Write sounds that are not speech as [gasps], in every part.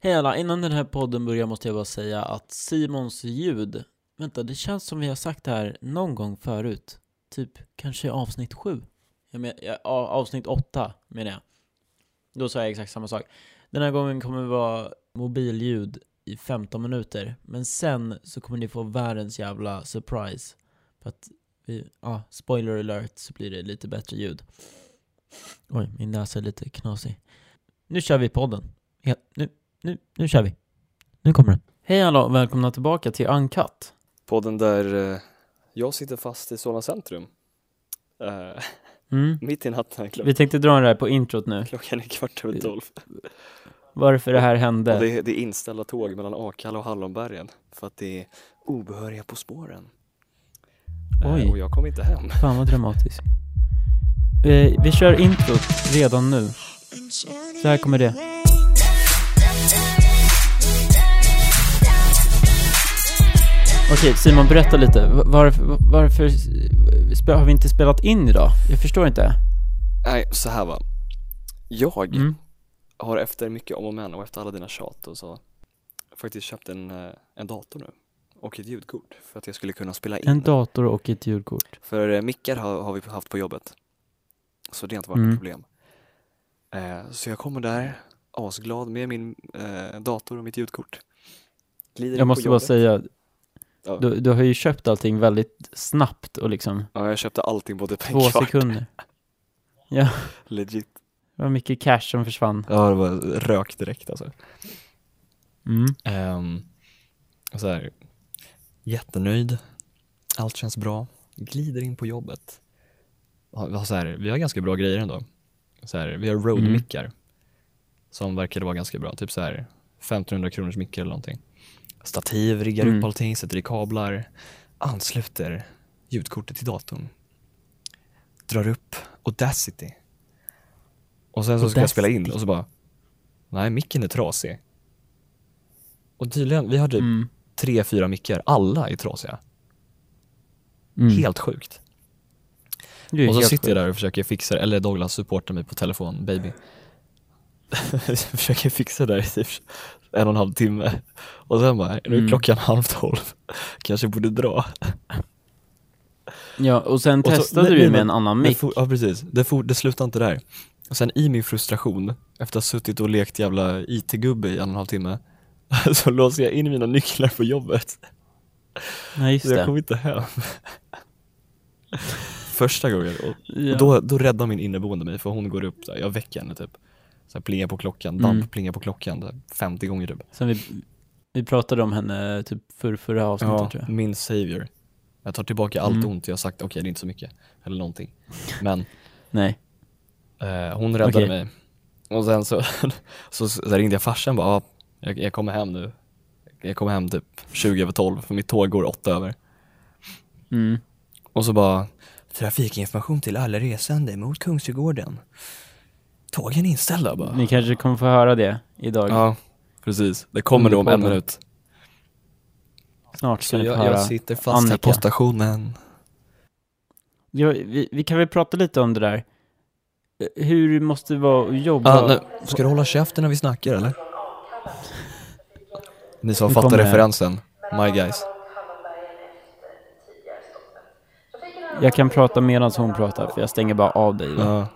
Hej alla, innan den här podden börjar måste jag bara säga att Simons ljud, vänta det känns som vi har sagt det här någon gång förut. Typ kanske i avsnitt sju. Jag men, ja, a- avsnitt åtta menar jag. Då sa jag exakt samma sak. Den här gången kommer det vara mobilljud i 15 minuter. Men sen så kommer ni få världens jävla surprise. För att vi, ja, spoiler alert så blir det lite bättre ljud. Oj, min näsa är lite knasig. Nu kör vi podden. Ja, nu, nu, nu kör vi. Nu kommer den. Hej alla och välkomna tillbaka till Uncut. Podden där eh, jag sitter fast i Solna centrum. Eh, [laughs] Mm. mitt i natten, klockan, Vi tänkte dra det här på introt nu. klockan är kvart över tolv. Varför det här Och hände. det, är- det är inställda tåg mellan Akalla och Hallonbergen för att det är obehöriga På spåren. Eh, Oj. och jag kom inte hem. Fan vad dramatiskt. Eh, vi kör introt redan nu. Så här kommer det. Okej Simon, berätta lite. Va- Varför, varför spe- har vi inte spelat in idag? Jag förstår inte. Nej, så här va. Jag Mm. har efter mycket om och men och efter alla dina tjat och så faktiskt köpt en, eh, en dator nu och ett ljudkort för att jag skulle kunna spela in. En dator och ett ljudkort. För eh, mickar har, har vi haft på jobbet. Så det har inte varit Mm. något problem. Eh, så jag kommer där asglad med min eh, dator och mitt ljudkort. Glider in Jag på måste bara jobbet. säga, Ja. du, du har ju köpt allting väldigt snabbt och liksom Ja, jag köpte allting på typ en två kvart. sekunder. [laughs] Legit. Det var mycket cash som försvann. Ja, det var rök direkt alltså. Mm. Um, så här, jättenöjd. Allt känns bra. Glider in på jobbet. Ja, vi har så här, vi har ganska bra grejer ändå. Så här, vi har roadmickar som verkade vara ganska bra. Typ så här 1500 kronors mickar eller någonting. Stativ, riggar Mm. upp allting, sätter i kablar, ansluter ljudkortet till datorn. Drar upp Audacity. Och sen så ska jag spela in och så bara, nej micken är trasig. Och tydligen, vi har typ Mm. tre, fyra mickar, alla är trasiga. Mm. Helt sjukt. Det är ju Och så helt sitter jag sjukt. där och försöker fixa det, eller Douglas supportar mig på telefon, baby. [laughs] jag försöker fixa det här i typ en och en halv timme. Och sen bara, nu är Mm. klockan halv tolv. Kanske borde dra. Ja, och sen Och så- testade nej, du ju nej, med men- en annan Det mick. for, ja precis, det, for, det slutar inte där. Och sen i min frustration, efter att ha suttit och lekt jävla IT-gubbe i en och en halv timme, [laughs] så låser jag in mina nycklar på jobbet. Nej, just Så jag det. kom inte hem. Första gången. Och Ja. Och då, då räddar min inneboende mig för hon går upp, så här, jag väcker henne typ. Så här, plingar på klockan, damp Mm. plingar på klockan så här, 50 gånger typ. Sen vi, vi pratade om henne typ för, förra avsnittet tror jag. min savior. Jag tar tillbaka allt Mm. ont jag har sagt, okej det är inte så mycket, eller någonting. Men Nej. eh, hon räddade Okej. mig. Och sen så, [laughs] så, så ringde jag farsan bara, ah, jag, jag kommer hem nu. Jag kommer hem typ 20 över 12, för mitt tåg går 8 över. Mm. Och så bara Trafikinformation till alla resande mot Kungsträdgården. Tågen är inställda bara. Ni kanske kommer få höra det idag. Ja, precis. Det kommer då om en Underpodden. minut. Snart Så ska ni få jag, höra. jag sitter fast här Annika. på stationen. Ja, vi, vi kan väl prata lite om det där. Eh, Hur det måste det vara att jobba? Ah, nu. Ska du hålla käften när vi snackar eller? Ni som Nu fattar kommer- referensen, my guys. Jag kan prata medan hon pratar, för jag stänger bara av dig. va? Ja.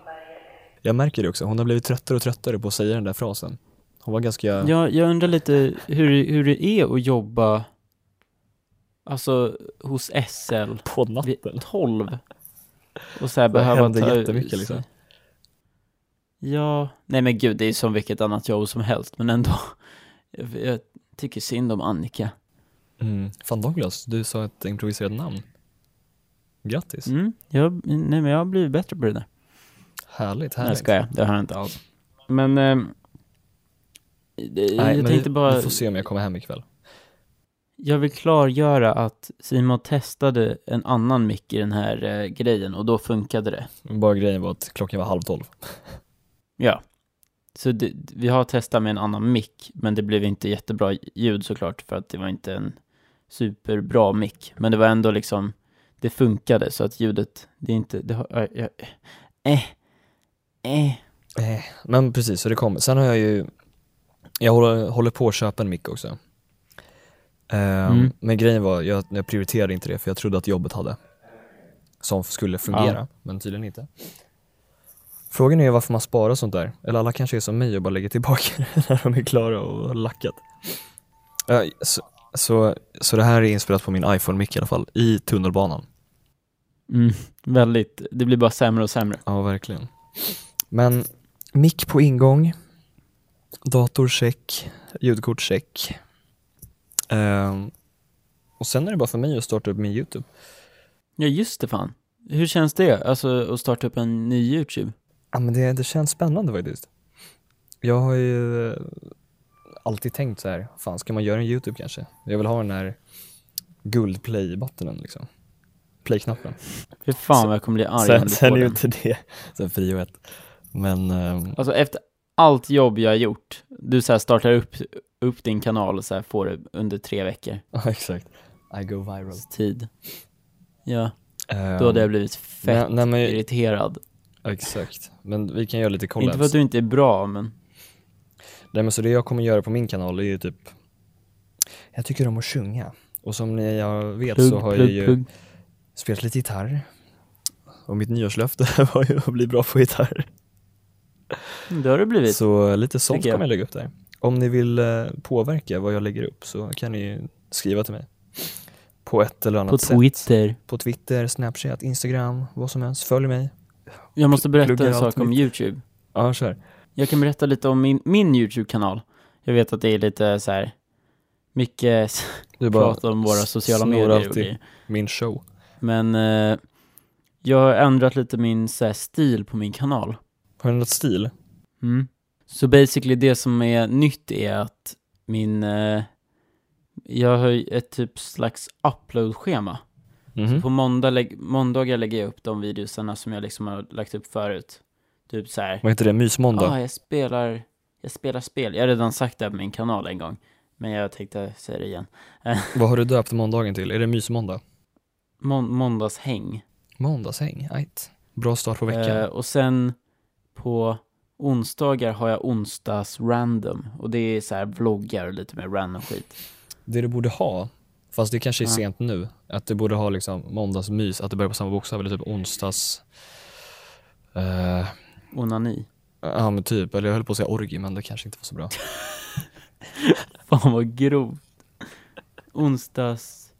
Jag märker det också, hon har blivit tröttare och tröttare på att säga den där frasen. Hon var ganska... Jag, jag undrar lite hur, hur det är att jobba alltså, hos SL På natten. vid 12 och så här Det behöva händer ta jättemycket, liksom. Ja, nej men gud, det är som vilket annat jobb som helst, men ändå. Jag, jag tycker synd om Annika. Mm. Fan Douglas, du sa ett improviserat namn. Grattis. Mm, jag, nej men jag har blivit bättre på det där. Härligt, Nej, härligt. ska jag. Det har jag inte alls. Men, ehm, det, Nej, jag men tänkte vi, bara... vi får se om jag kommer hem ikväll. Jag vill klargöra att Simon testade en annan mick i den här eh, grejen och då funkade det. Bara grejen var att klockan var halv tolv. Ja. Så det, vi har testat med en annan mick, men det blev inte jättebra ljud såklart för att det var inte en superbra mick. Men det var ändå liksom, det funkade så att ljudet, det är inte, det har, äh, jag- eh, eh. Eh, Men precis, så det kommer. Sen har jag ju Jag håller, håller på att köpa en mick också. Ehm, Mm. Men grejen var, jag, jag prioriterade inte det för jag trodde att jobbet hade. Som skulle fungera, men tydligen inte. Frågan är varför man sparar sånt där. Eller alla kanske är som mig och bara lägger tillbaka [laughs] det när de är klara och har lackat. Eh, så, så, så det här är inspelat på min iPhone-mick i alla fall, i tunnelbanan. Mm, väldigt. Det blir bara sämre och sämre. Ja, verkligen. Men mick på ingång, dator check, ljudkort check. Ehm, och sen är det bara för mig att starta upp min YouTube. Ja, just det fan. Hur känns det? Alltså att starta upp en ny YouTube? Ja, men det, det känns spännande faktiskt. Jag har ju eh, alltid tänkt så här, fan ska man göra en YouTube kanske? Jag vill ha den här guldplay-buttenen liksom. Play-knappen. Fy fan vad jag kommer bli arg om Sen, du sen får är ju den. inte det, sen frihet. Men ehm, Alltså efter allt jobb jag har gjort, du så här startar upp, upp din kanal och så här får det under tre veckor ja, [laughs] exakt. I go viral. tid. Ja, Ehm, då hade jag blivit fett Nej, nej, men eh, irriterad. Ja, Exakt, men vi kan göra lite Inte för collabs. att du inte är bra, men Nej men så det jag kommer göra på min kanal är ju typ Jag tycker om att sjunga och som ni jag vet så har jag ju spelat lite gitarr och mitt nyårslöfte [laughs] var ju att bli bra på gitarr. Mm, Det har du blivit. Så lite sånt Tycker jag. kommer jag lägga upp där. Om ni vill eh, påverka vad jag lägger upp så kan ni ju skriva till mig. På ett eller annat på sätt. Twitter. På Twitter, Snapchat, Instagram, vad som helst. Följ mig. Jag måste berätta Pluggar en allt sak om YouTube. Ja, kör. Jag kan berätta lite om min, min YouTube-kanal. Jag vet att det är lite så här mycket s- Du bara prat om våra sociala snor medier och alltid. grejer. min show. Men eh, jag har ändrat lite min så här, stil på min kanal. Har du något stil? Mm. Så basically det som är nytt är att min... Eh, jag har ju ett typ slags upload-schema. Mhm. På måndag lägg, måndagar lägger jag upp de videosarna som jag liksom har lagt upp förut. Typ så här. Vad heter det? Mysmåndag? ah, jag spelar, jag spelar spel. Jag har redan sagt det på min kanal en gång. Men jag tänkte säga det igen. Vad har du döpt måndagen till? Är det mysmåndag? Mån, måndagshäng. Måndagshäng, ajt. Bra start på veckan. Eh, och sen på onsdagar har jag onsdags random. Och det är så här vloggar och lite mer random skit. Det du borde ha, fast det kanske är Ja. sent nu, att du borde ha liksom måndagsmys, att det börjar på samma bokstav, eller typ onsdags... eh, Onani. Ja men typ, eller jag höll på att säga orgi men det kanske inte var så bra. Fan vad grovt. Onsdags...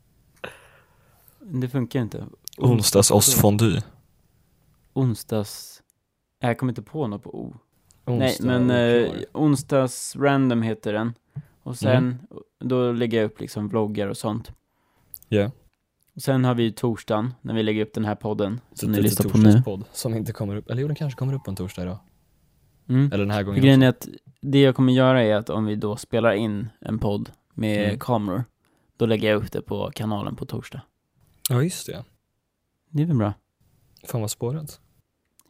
Det funkar inte. Onsdags ostfondue. Onsdags... Nej, Jag kommer inte på något på O. Nej, Onsdag men och eh, klar. onsdags random heter den. Och sen, Mm. då lägger jag upp liksom vloggar och sånt. Ja. Och sen har vi ju torsdagen, när vi lägger upp den här podden, Så som ni lite lyssnar på nu. torsdagspodd Som inte kommer upp, eller jo den kanske kommer upp på en torsdag idag. Mm. Eller den här gången Grejen är att det jag kommer göra är att om vi då spelar in en podd med Mm. kameror, då lägger jag upp det på kanalen på torsdag. också. Ja just det. Det är väl bra? Fan vad spårat.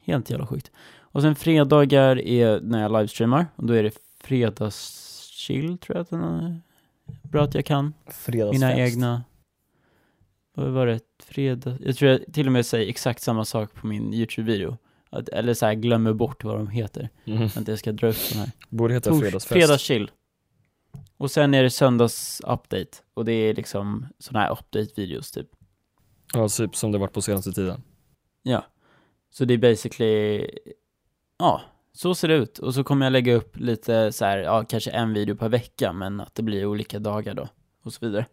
Helt jävla sjukt. Och sen fredagar är när jag livestreamar, och då är det fredagschill, tror jag att den är. Bra att jag kan. Fredagsfest. Mina egna... Vad var det? Fredag... Jag tror jag till och med säger exakt samma sak på min YouTube-video. Att, eller så här glömmer bort vad de heter. Mm. Vänta, jag ska dra upp den här. Borde heta Tors- fredagsfest. Fredagschill. Och sen är det söndags-update. Och det är liksom sådana här update-videos typ. Ja typ som det varit på senaste tiden. Ja. Så det är basically... Ja, så ser det ut. Och så kommer jag lägga upp lite så här, ja, kanske en video per vecka, men att det blir olika dagar då. Och så vidare.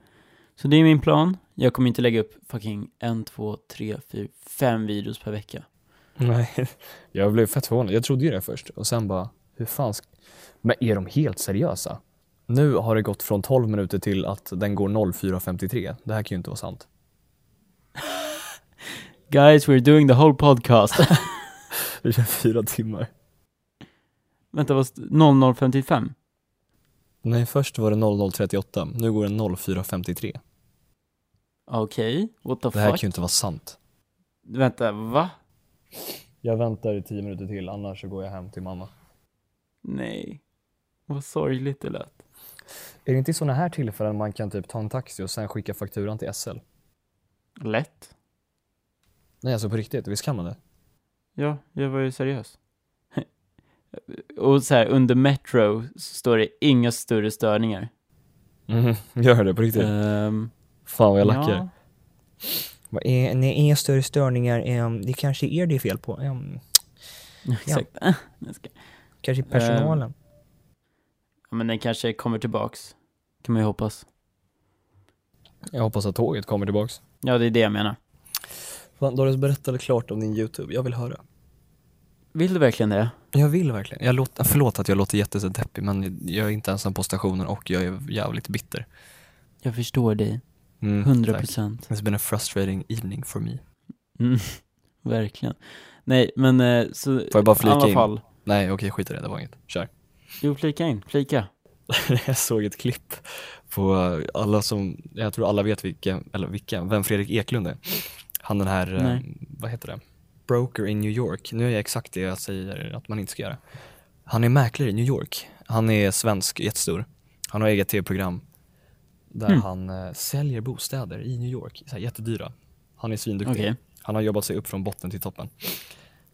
Så det är min plan. Jag kommer inte lägga upp fucking en, två, tre, fyra, fem videos per vecka. [laughs] Nej, [laughs] jag blev fett förvånad. Jag trodde ju det först och sen bara, hur fan ska... Men är de helt seriösa? Nu har det gått från 12 minuter till att den går 04.53. Det här kan ju inte vara sant. [laughs] Guys, we're doing the whole podcast. [laughs] Vi kör fyra timmar. Vänta, vad... st- 00.55? Nej, först var det 00.38. Nu går den 04.53. Okej, what the Det här fuck? kan ju inte vara sant. Vänta, va? Jag väntar i 10 minuter till, annars så går jag hem till mamma. Nej. Vad sorgligt det lät. Är det inte i sådana här tillfällen man kan typ ta en taxi och sen skicka fakturan till SL? Lätt. Nej, alltså på riktigt. Visst kan man det? Ja, jag var ju seriös. [laughs] Och så här, under Metro så står det inga större störningar. Mm, [laughs] gör det på riktigt. Ehm, Fan vad jag lackar. ja. Vad är- Eh, nej, inga större störningar. ehm, det kanske är det är fel på. ehm, Exakt. Jag ska- kanske personalen. Ja, men den kanske kommer tillbaks. Kan man ju hoppas. Eh, Jag hoppas att tåget kommer tillbaks. Ja, det är det jag menar. Fan, Darius berättade klart om din YouTube, jag vill höra. Vill du verkligen det? Jag vill verkligen. Jag låter, förlåt att jag låter jättedeppig men jag är inte ensam på stationen och jag är jävligt bitter. Jag förstår dig. Mm, 100 tack. procent. It's been a frustrating evening for me. Mm, verkligen. Nej, men eh, så... Får jag bara flika alla in? fall. Nej okej, skit i det, det var inget. Kör. Jo, flika in. Flika. [laughs] jag såg ett klipp på eh, alla som, jag tror alla vet vilka, eller vilka, vem Fredrik Eklund är. Han den här, eh, Nej. vad heter det? Broker i New York. Nu är jag exakt det jag säger att man inte ska göra. Han är mäklare i New York. Han är svensk, jättestor. Han har eget tv-program där Mm. han eh, säljer bostäder i New York, så här, jättedyra. Han är svinduktig. Okej. Han har jobbat sig upp från botten till toppen.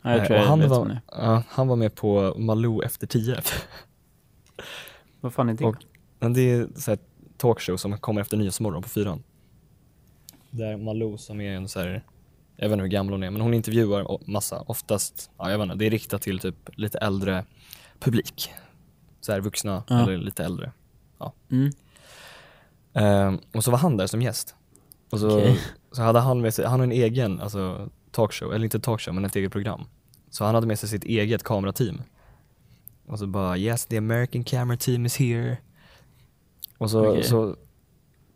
Ja, jag Eh, tror och jag han, vet var, vad det är. ja, han var med på Malou efter tio. Vad fan är det? Och- Men det är så här talkshow som kommer efter Nyhetsmorgon på fyran. Där Malou som är en så här, jag vet inte hur gammal hon är, men hon intervjuar o- massa, oftast, ja jag vet inte, det är riktat till typ lite äldre publik. Så här vuxna Ja. eller lite äldre. Mm. Ehm, och så var han där som gäst. Och så, Okej. så hade han med sig, han har en egen alltså, talkshow, eller inte talkshow men ett eget program. Så han hade med sig sitt eget kamerateam. Och så bara yes the American camera team is here. Och så, Okej. så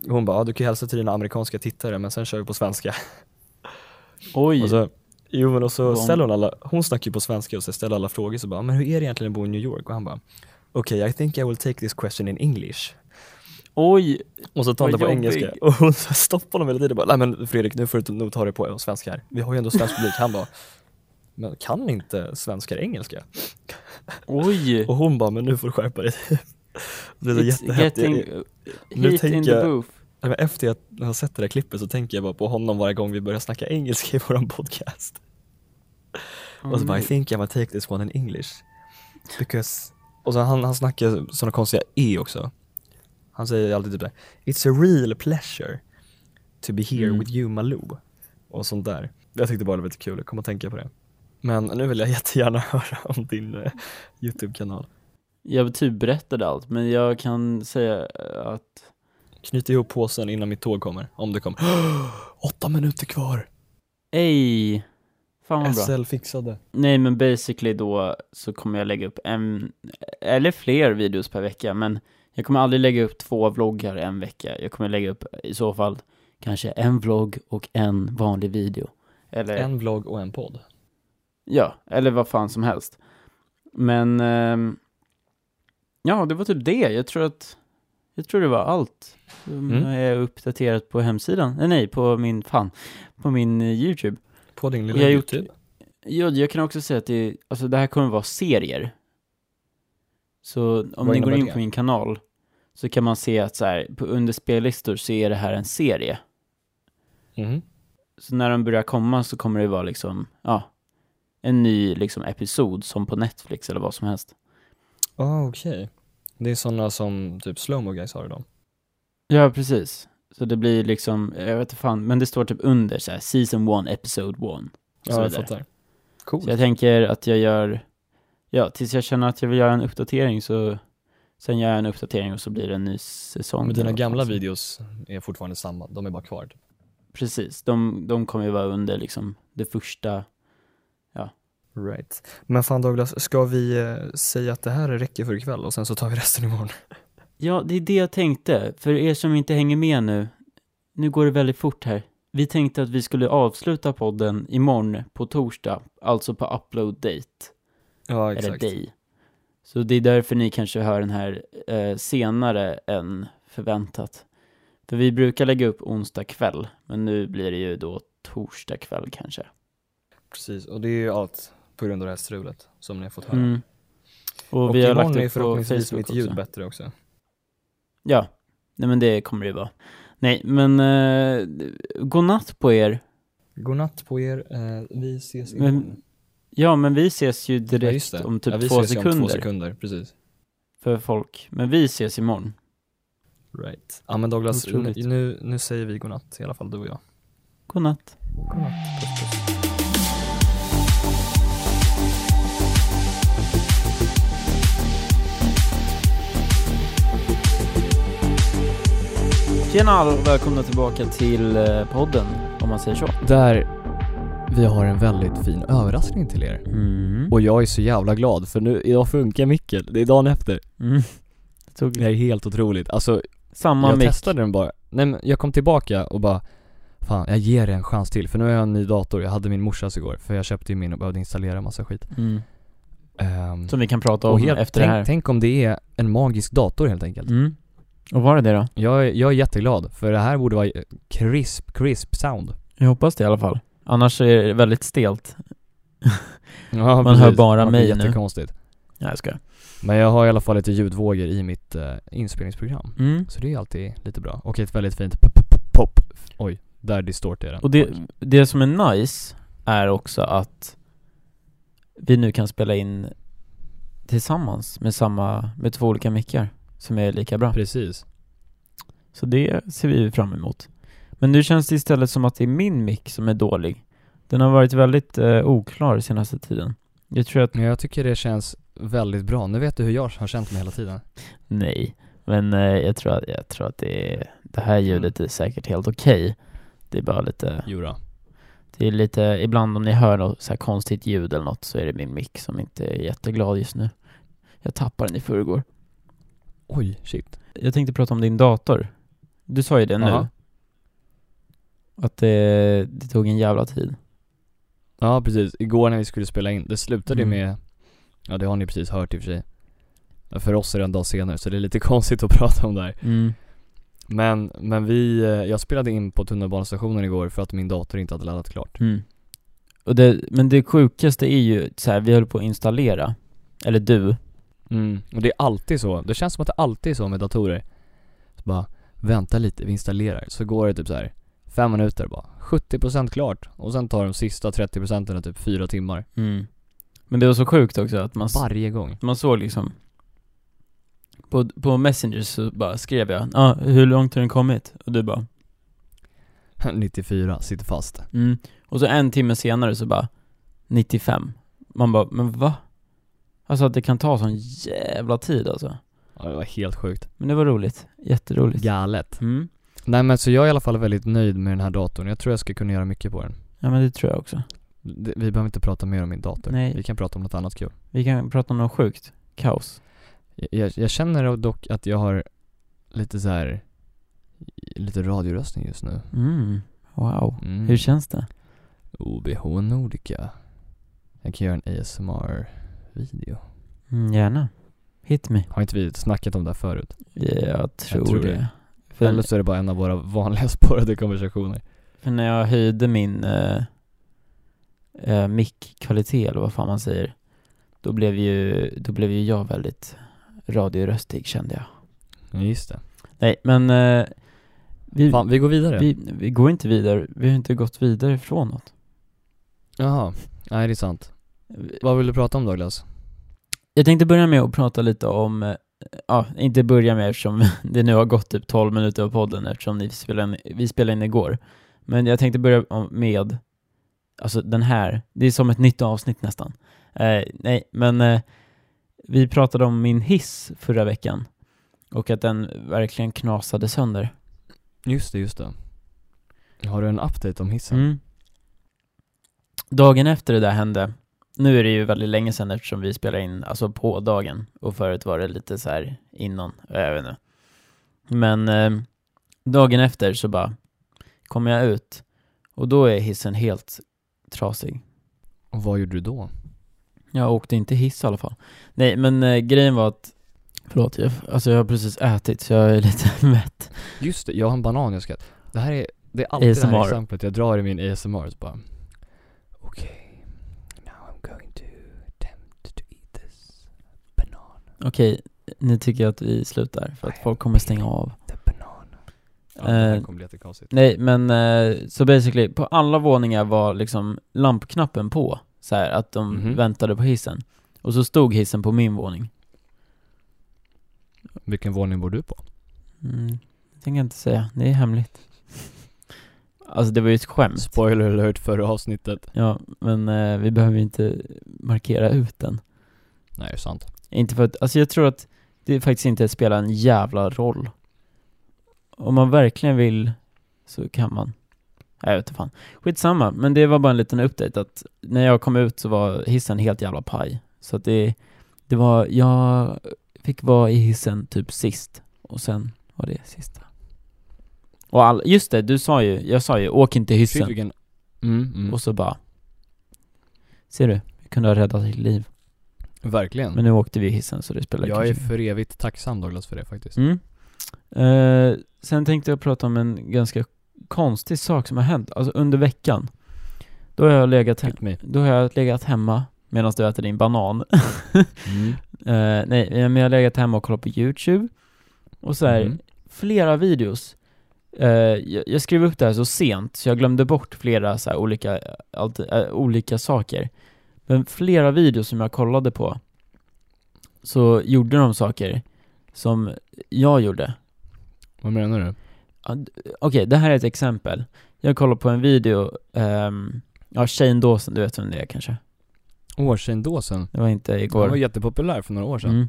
hon bara, ja, du kan ju hälsa till dina amerikanska tittare men sen kör vi på svenska. Oj. Och så, jo men och så Vad hon- ställer hon alla, hon snackar ju på svenska och så ställer alla frågor så bara, men hur är det egentligen att bo i New York? Och han bara, okej I think I will take this question in English. Oj. Och så tar han det Vad på jobbig. engelska [laughs] och hon så stoppar honom hela tiden bara, nej men Fredrik nu får du nog ta det på svenska här. Vi har ju ändå svensk publik. Han bara, men kan inte svenskar engelska? Oj. Och hon bara, men nu får du skärpa dig. [laughs] Det är så It's jättehäftigt. getting Jag- Nu heat in the tänker jag- booth. jag- Efter jag har sett det där klippet så tänker jag bara på honom varje gång vi börjar snacka engelska i våran podcast. Mm. och så bara, I think I will take this one in English. Because... Och så han, han snackar sådana konstiga E också. Han säger alltid typ där, It's a real pleasure to be here Mm. with you Malou. Och sånt där. Jag tyckte bara det var lite kul, jag kom att tänka på det. Men nu vill jag [laughs] jättegärna höra om din eh, YouTube-kanal. Jag typ berättade allt, men jag kan säga eh, att Knyt ihop påsen innan mitt tåg kommer, om det kommer. [gasps] Åtta minuter kvar! ej, fan vad bra. SL fixade. Nej men basically då så kommer jag lägga upp en, eller fler videos per vecka, men jag kommer aldrig lägga upp två vloggar en vecka. Jag kommer lägga upp i så fall kanske en vlogg och en vanlig video. Eller, En vlogg och en podd. ja, eller vad fan som helst. Men, ehm, ja det var typ det. Jag tror att, jag tror det var allt. Som Mm. är uppdaterat på hemsidan, Eh, nej, nej på min, fan, på min eh, YouTube. På din Jag lilla har gjort- YouTube. Ja, jag kan också säga att det, alltså det här kommer vara serier. Så om ni Vad går innebär in det? på min kanal så kan man se att så här, på, under spellistor så är det här en serie. Mhm. Så när de börjar komma så kommer det vara liksom, ja, en ny liksom episod som på Netflix eller vad som helst. Ah, okej. Det är sådana som typ Slowmo guys har idag. Ja, precis. Så det blir liksom, jag vet inte fan, men det står typ under så här, season 1, episode 1. Ja, Så jag vidare. fattar. Coolt. Så jag tänker att jag gör, ja, tills jag känner att jag vill göra en uppdatering så, sen gör jag en uppdatering och så blir det en ny säsong. Men dina Eller vad gamla fan. videos är fortfarande samma, de är bara kvar. typ. Precis, de, de kommer ju vara under liksom det första, Right. Men fan Douglas, ska vi eh, säga att det här räcker för ikväll och sen så tar vi resten imorgon? ja, det är det jag tänkte, för er som inte hänger med nu, nu går det väldigt fort här. Vi tänkte att vi skulle avsluta podden imorgon på torsdag, alltså på upload date. Ja, eller dig. Så det är därför ni kanske hör den här eh, senare än förväntat. För vi brukar lägga upp onsdag kväll, men nu blir det ju då torsdag kväll kanske. Precis, och det är ju allt på grund av det här strulet som ni har fått höra. Mm. Och, Och vi har imorgon lagt är upp på förhoppningsvis Facebook mitt också. ljud bättre också. Ja, nej men det kommer det ju vara. Nej, men eh, god natt på er. Godnatt på er, eh, vi ses Men- imorgon. Ja, men vi ses ju Ja, direkt just det. om typ ja, vi två, ses ju om sekunder två sekunder. Precis. för folk. Men vi ses imorgon. Right. Ja men Douglas, nu, Otroligt. nu, nu säger vi godnatt i alla fall du och jag. Godnatt. Godnatt. Puss, puss. Tjena och välkomna tillbaka till eh, podden, om man säger så. Där vi har en väldigt fin överraskning till er. Mm. Och jag är så jävla glad för nu, idag funkar micken. Det är dagen efter. Mm. Jag Det Tog här är helt otroligt. Alltså samma jag mick. testade den bara. Nej men jag kom tillbaka och bara Fan, jag ger det en chans till. För nu har jag en ny dator. Jag hade min morsas igår. För jag köpte ju min och behövde installera massa skit. Mm. Ehm, Som vi kan prata och om helt, efter tänk, det här. tänk om det är en magisk dator helt enkelt. Mm. Och var det det då? Jag, är- jag är jätteglad, för det här borde vara crisp, crisp sound. Jag hoppas det i alla fall. Annars är det väldigt stelt. Ja, Man hör bara Det blir mig nu. jättekonstigt. Nej, jag skojar. Men jag har i alla fall lite ljudvågor i mitt eh, inspelningsprogram. Mm. Så det är alltid lite bra. Och ett väldigt fint pop, pop, pop. Oj, där distorterar den. Och det, det som är nice är också att vi nu kan spela in tillsammans med samma, med två olika mickar som är lika bra. Precis. Så det ser vi fram emot. Men nu känns det istället som att det är min mick som är dålig. Den har varit väldigt eh, oklar senaste tiden. Jag tror att, Men jag tycker det känns väldigt bra. Nu vet du hur jag har känt mig hela tiden. nej, men eh, jag, tror att, jag tror att det, är, det här ljudet är säkert helt okej. Det är bara lite, Jura. det är lite, ibland om ni hör något så här konstigt ljud eller något så är det min mick som inte är jätteglad just nu. Jag tappade den i förrgår. Oj, shit. Jag tänkte prata om din dator. Du sa ju det nu. Aha. Att det, det tog en jävla tid. Ja, precis. Igår när vi skulle spela in, det slutade ju Mm. med, ja det har ni precis hört i och för sig. För oss är det en dag senare, så det är lite [laughs] konstigt att prata om det här. Mm. Men, men vi, eh, jag spelade in på tunnelbanestationen igår för att min dator inte hade laddat klart. Mm. Och det, men det sjukaste är ju så här, vi höll på att installera, eller du. Mm. Och det är alltid så, det känns som att det alltid är så med datorer. Så bara, vänta lite, vi installerar. Så går det typ så här fem minuter bara, 70% klart. Och sen tar de sista 30% typ fyra timmar. Men det var så sjukt också att man, s- Varje gång. [laughs] man såg liksom på, på Messenger så bara skrev jag ah, hur långt har den kommit? Och du bara 94, sitter fast. mm. Och så en timme senare så bara 95 Man bara, men va? Alltså att det kan ta sån jävla tid alltså Ja, det var helt sjukt. Men det var roligt, jätteroligt Galet. mm. Nej men så jag är i alla fall väldigt nöjd med den här datorn. Jag tror jag ska kunna göra mycket på den. Ja men det tror jag också Det- Vi behöver inte prata mer om min dator. Nej. Vi kan prata om något annat kul. Vi kan prata om något sjukt, kaos Jag, jag känner dock att jag har lite så här lite radioröstning just nu. mm. Wow Mm. Hur känns det? OBH Nordica. Jag kan göra en ASMR-video. Mm, gärna. Hit me. Har inte vi snackat om det här förut? Jag tror, tror det. det. Eller För, så är det bara en av våra vanliga [laughs] spårade konversationer. för när jag höjde min eh, eh, mic-kvalitet, eller vad fan man säger, då blev ju, då blev ju jag väldigt radioröstig kände jag. Ja, just det. Nej, men eh, vi, Fan, vi går vidare. vi, vi går inte vidare. Vi har inte gått vidare från något. Jaha. Nej, det är sant. Vad vill du prata om Douglas? Jag tänkte börja med att prata lite om, eh, ja, inte börja med eftersom [laughs] det nu har gått typ 12 minuter av podden eftersom ni spelade in, vi spelade in igår. Men jag tänkte börja om- med, alltså den här, det är som ett nytt avsnitt nästan. Eh, nej, men eh, vi pratade om min hiss förra veckan och att den verkligen knasade sönder. Just det, just det. Har du en update om hissen? Mm. Dagen efter det där hände, nu är det ju väldigt länge sedan eftersom vi spelar in alltså på dagen och förut var det lite så här innan, jag vet inte. Men eh, dagen efter så bara kommer jag ut och då är hissen helt trasig. Och vad gjorde du då? Jag åkte inte hiss i alla fall. Nej men eh, grejen var att, förlåt jag, alltså jag har precis ätit så jag är lite [laughs] mätt. Just det, jag har en banan jag ska äta. Det här är, det är alltid det ASMR. här exemplet jag drar i min ASMR så bara Okej, now I'm going to attempt to eat this banan, Okej, nu tycker jag att vi slutar för att folk kommer stänga av. the banan Ja, det Eh, här kommer bli jättekonstigt Nej men eh, så basically, på alla våningar var liksom lampknappen på Så här, att de Mhm. väntade på hissen. Och så stod hissen på min våning. Vilken våning bor du på? Mm, det tänker jag inte säga, det är hemligt. Alltså det var ju ett skämt. Spoiler alert förra avsnittet. Ja, men eh, vi behöver ju inte markera ut den. Nej, det är sant. Inte för att, alltså jag tror att det faktiskt inte spelar en jävla roll. Om man verkligen vill så kan man. Nej, jag vet inte fan. Skitsamma, men det var bara en liten update att när jag kom ut så var hissen helt jävla paj. Så att det, det var, jag fick vara i hissen typ sist och sen var det sista. Och all, just det, du sa ju, jag sa ju åk inte i Shit, hissen. vilken... Mm, mm. Och så bara Ser du? Vi kunde ha räddat ditt liv. Verkligen. Men nu åkte vi i hissen så det spelar jag kanske är ingen för evigt tacksam Douglas för det faktiskt. Mm. Eh, sen tänkte jag prata om en ganska konstig sak som har hänt, alltså under veckan. Då har jag legat, he- Hit me. då har jag legat hemma medan du äter din banan. [laughs] Mm. Eh, nej, men jag har legat hemma och kollat på YouTube. Och så här, Mm. flera videos. Eh, jag, jag skrev upp det här så sent, så jag glömde bort flera så här, olika, allt, eh, olika saker. Men flera videos som jag kollade på, så gjorde de saker som jag gjorde. Vad menar du? Ja, d- Okej, det här är ett exempel. Jag kollade på en video, ehm, ja Shane Dawson, du vet vem det är kanske? Årsindåsen. Det var inte igår. Den var jättepopulär för några år sedan. Mm.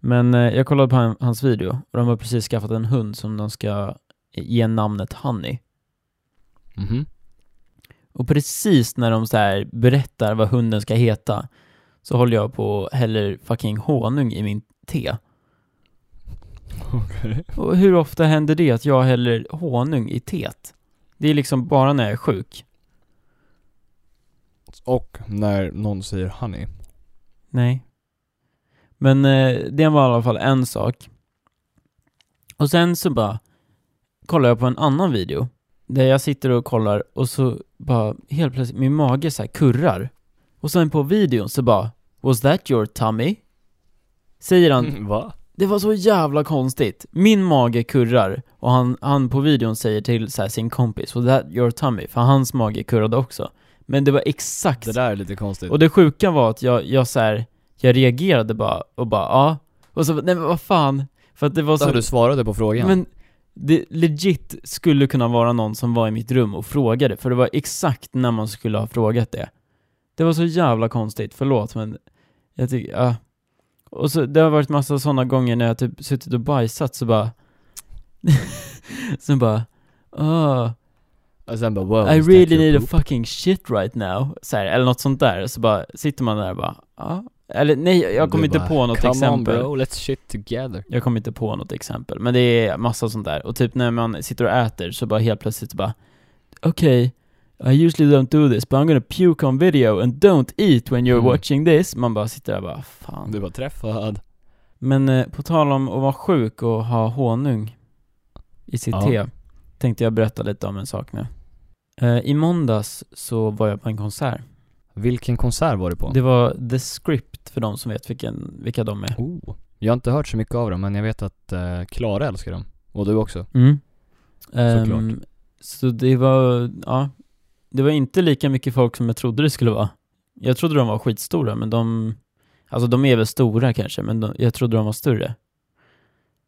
Men eh, jag kollade på han, hans video och de har precis skaffat en hund som de ska ge namnet Honey. Mm. Mhm. [laughs] Och precis när de så här berättar vad hunden ska heta så håller jag på och häller fucking honung i min te. Okej. Och hur ofta händer det att jag häller honung i teet? Det är liksom bara när jag är sjuk. Och när någon säger honey. Nej. Men eh, det var i alla fall en sak. Och sen så bara kollar jag på en annan video. Där jag sitter och kollar och så bara helt plötsligt, min mage så här kurrar. Och sen på videon så bara Was that your tummy? Säger han, Mm, Va? det var så jävla konstigt. Min mage kurrar och han, han på videon säger till så här, sin kompis Was that your tummy? För hans mage kurrade också. Men det var exakt Det där är lite konstigt. och det sjuka var att jag, jag så här, jag reagerade bara och bara ja. Och så, nej men vad fan. För att det var Så så, du svarade på frågan. men det legit skulle kunna vara någon som var i mitt rum och frågade, för det var exakt när man skulle ha frågat det. Det var så jävla konstigt, förlåt men jag tycker, ja. Och så, det har varit massa sådana gånger när jag typ suttit och bajsat så bara, [laughs] så bara, ah. Och sen bara wow, I is that really your need a poop? fucking shit right now, så här, eller något sånt där, så bara sitter man där och bara, ja, eller nej, jag Du kommer inte bara, på något Come exempel. on bro, let's shit together. Jag kommer inte på något exempel, men det är massa sånt där. Och typ när man sitter och äter så bara helt plötsligt bara, okej, I usually don't do this, but I'm gonna puke on video and don't eat when you're Mm. watching this. Man bara sitter där och bara, fan. Du var träffad. Men eh, på tal om att vara sjuk och ha honung i sitt Ja. te, tänkte jag berätta lite om en sak nu. Eh, I måndags så var jag på en konsert. Vilken konsert var du på? Det var The Script för de som vet vilken, vilka de är. Oh. Jag har inte hört så mycket av dem, men jag vet att eh, Klara älskar dem. Och du också. Mm. Ehm, Såklart. så det var, ja, det var inte lika mycket folk som jag trodde det skulle vara. Jag trodde de var skitstora, men de, alltså de är väl stora kanske, men de, jag trodde de var större.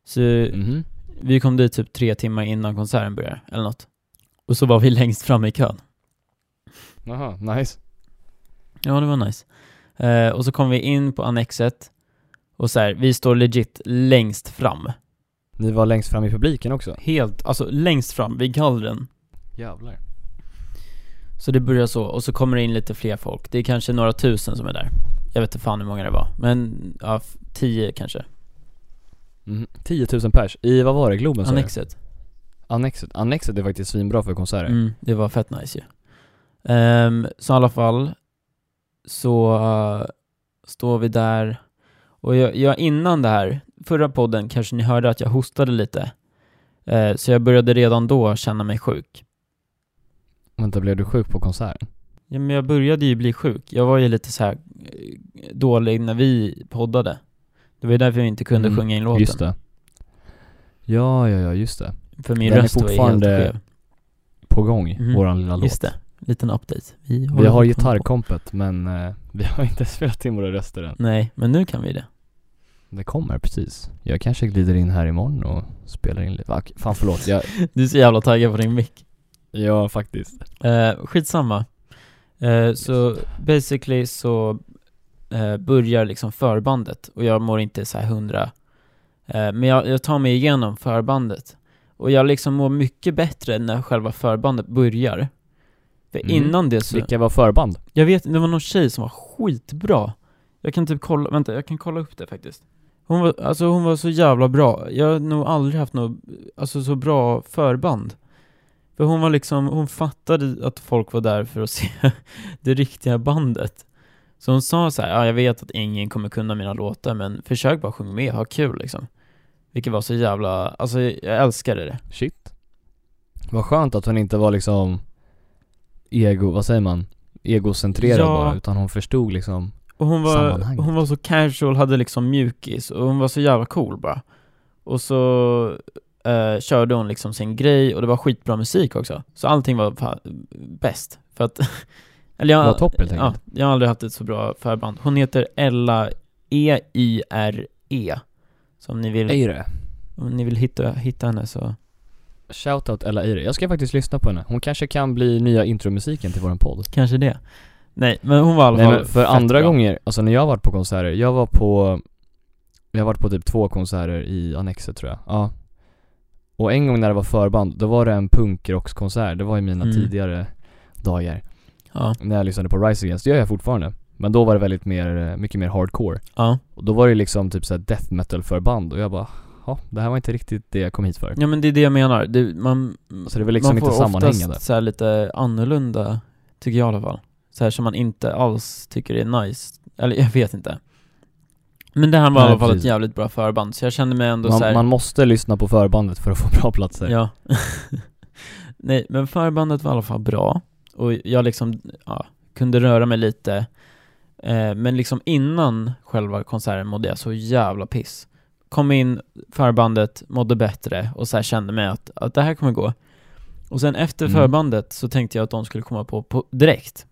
Så Mhm. Vi kom dit typ tre timmar innan konserten började, eller något. Och så var vi [laughs] längst fram i kön. Jaha, nice. Ja, det var nice. Eh, och så kom vi in på Annexet, och så här, vi står legit längst fram. Ni var längst fram i publiken också. Helt, alltså längst fram vid gallren. Jävlar. Så det börjar så, och så kommer det in lite fler folk. Det är kanske några tusen som är där. Jag vet inte fan hur många det var, men ja, f- tio kanske. Mm. 10 000 pers. I, vad var det, Globen sa du? Annexet. Annexet. Annexet är faktiskt svinbra för konserter. Mm, det var fett nice ju. Ehm, så i alla fall så eh, står vi där och jag, jag innan det här, förra podden kanske ni hörde att jag hostade lite. Eh, så jag började redan då känna mig sjuk. Vänta, blev du sjuk på konserten? Ja, men jag började ju bli sjuk. Jag var ju lite så här eh, dålig när vi poddade. Det var ju därför jag inte kunde Mm, sjunga in låten. Just det. Ja, ja, ja, just det. För min Den är röst var ju helt fortfarande skev. På gång, Mhm. våran lilla låt. Just det. liten update. Vi, Vi har håller på- gitarrkompet men eh, vi har inte [laughs] spelat in våra röster än. Nej, men nu kan vi det. [laughs] Det kommer precis. Jag kanske glider in här imorgon och spelar in lite. Va, okej, Fan förlåt, jag, Du är så jävla taggad på din mick. ja faktiskt. Eh, skitsamma. Eh, så basically så eh, börjar liksom förbandet och jag mår inte så här hundra. Eh, men jag, jag tar mig igenom förbandet. Och jag liksom mår mycket bättre när själva förbandet börjar. För Mm. innan det så, Vilka var förband? jag vet det var någon tjej som var skitbra. Jag kan typ kolla, vänta jag kan kolla upp det faktiskt. Hon var, alltså hon var så jävla bra. Jag har nog aldrig haft något, alltså så bra förband. För hon var liksom, hon fattade att folk var där för att se [laughs] det riktiga bandet. Så hon sa så här, ja jag vet att ingen kommer kunna mina låtar men försök bara sjunga med, ha kul liksom. Vilket var så jävla, alltså jag älskade det. Shit. Vad skönt att hon inte var liksom ego, vad säger man? Egocentrerad Ja. bara, utan hon förstod liksom. Och hon var, Sammanhanget. hon var så casual, hade liksom mjukis och hon var så jävla cool bara. Och så eh, körde hon liksom sin grej och det var skitbra musik också. Så allting var fa- bäst. För att... [laughs] eller jag, Det var topp, helt ja, enkelt. jag har aldrig haft ett så bra förband. Hon heter Ella E E-I-R-E. E, Så om ni vill, Eire. om ni vill hitta, hitta henne så... Shoutout Ella Eire. Jag ska faktiskt lyssna på henne. Hon kanske kan bli nya intromusiken till våran podd. Kanske det. Nej, men hon var i alla Nej, fall men för fett andra bra. gånger, alltså när jag har varit på konserter, jag var på Jag har varit på typ två konserter i Annexet tror jag, ja Och en gång när det var förband, då var det en punkrockskonsert, det var i mina Mm. tidigare dagar Ja, När jag lyssnade på Rise Against, det gör jag fortfarande Men då var det väldigt mer, eh, mycket mer hardcore ja. Och då var det liksom typ såhär death metal förband och jag bara Ja, det här var inte riktigt det jag kom hit för Ja men det är det jag menar. Det, man, Så det var liksom man får inte sammanhängande oftast så här lite annorlunda, tycker jag i alla fall. Så här som man inte alls tycker är nice. Eller jag vet inte. Men det här var i Nej, alla fall ett precis. jävligt bra förband, så jag kände mig ändå så här, man, man måste lyssna på förbandet för att få [laughs] bra platser Ja. [laughs] Nej, men förbandet var i alla fall bra. Och jag liksom, ja, kunde röra mig lite. Eh, men liksom innan själva konserten mådde jag så jävla piss. Kom in, förbandet, mådde bättre och så här kände mig att, att det här kommer gå. Och sen efter Mm. förbandet så tänkte jag att de skulle komma på, på direkt.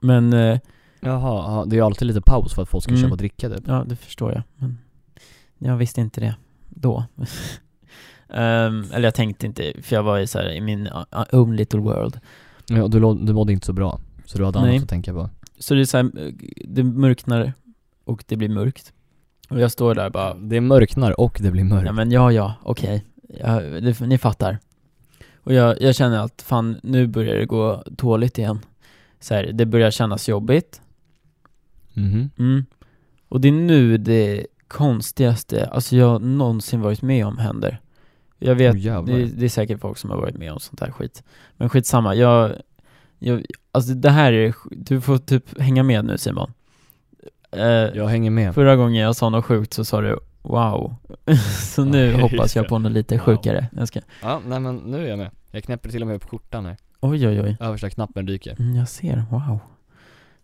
Men, eh, Jaha, ja, det är ju alltid lite paus för att folk ska Mm. köpa och dricka typ ja det förstår jag. Men jag visste inte det då. [laughs] Ehm, eller jag tänkte inte, för jag var i, så här, i min uh, own little world. Ja, du, lå- du mådde inte så bra, så du hade Nej. annat att tänka på. Så det är så här, eh, det mörknar och det blir mörkt. Och jag står där bara, Det mörknar och det blir mörkt. ja men ja ja, okej. Ja, det- ni fattar. Och jag, jag känner att fan, nu börjar det gå dåligt igen. Så här, det börjar kännas jobbigt. Mhm. Mm. Och det är nu det konstigaste, alltså jag någonsin varit med om händer. Jag vet Åh, jävlar. det, det är säkert folk som har varit med om sånt här skit. Men skitsamma, jag, jag alltså det här är, du får typ hänga med nu Simon. Eh, Jag hänger med. Förra gången jag sa något sjukt så sa du wow. [laughs] så nu Okej, hoppas jag ja. på något lite Wow. sjukare. Jag ska, Ja, nej men nu är jag med. Jag knäpper till och med upp skjortan här. oj oj oj, Översta knappen ryker. Mm, jag ser, wow.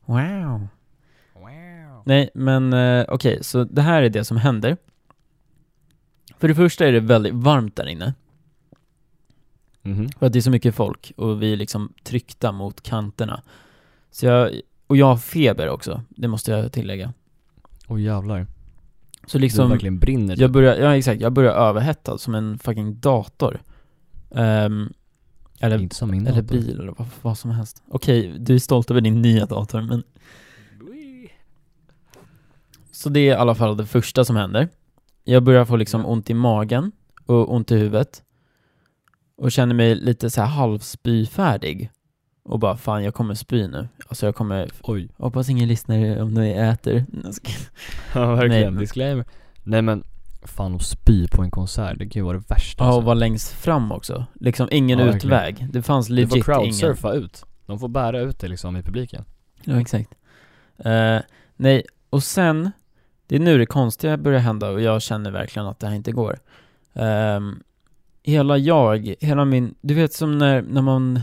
Wow. Nej men eh, okej, så det här är det som händer. För det första är det väldigt varmt där inne. Mhm. För att det är så mycket folk och vi är liksom tryckta mot kanterna. Så jag, och jag har feber också, det måste jag tillägga. Åh jävlar. Så du liksom, verkligen brinner. jag börjar, ja exakt, jag börjar överhettad som en fucking dator. Ehm, eller, typ. inte som min eller dator. bil eller vad, vad som helst. Okej, du är stolt över din nya dator men... Så det är i alla fall det första som händer. Jag börjar få liksom Ja. ont i magen och ont i huvudet. Och känner mig lite så här halvspyfärdig. Och bara fan jag kommer spy nu. Alltså jag kommer, [laughs] Oj. hoppas ingen lyssnar om ni äter. Jag ska- Ja verkligen. men- Disclaimer. Nej men, fan att spy på en konsert, det kan ju vara det värsta. Ja alltså. och vara längst fram också. Liksom ingen Ja, verkligen. utväg. Det fanns Du får legit ingen. crowdsurfa ut. De får bära ut det liksom i publiken. Ja exakt. Eh, nej, och sen, det är nu det konstiga börjar hända och jag känner verkligen att det här inte går. Ehm, hela jag, hela min, du vet som när, när man,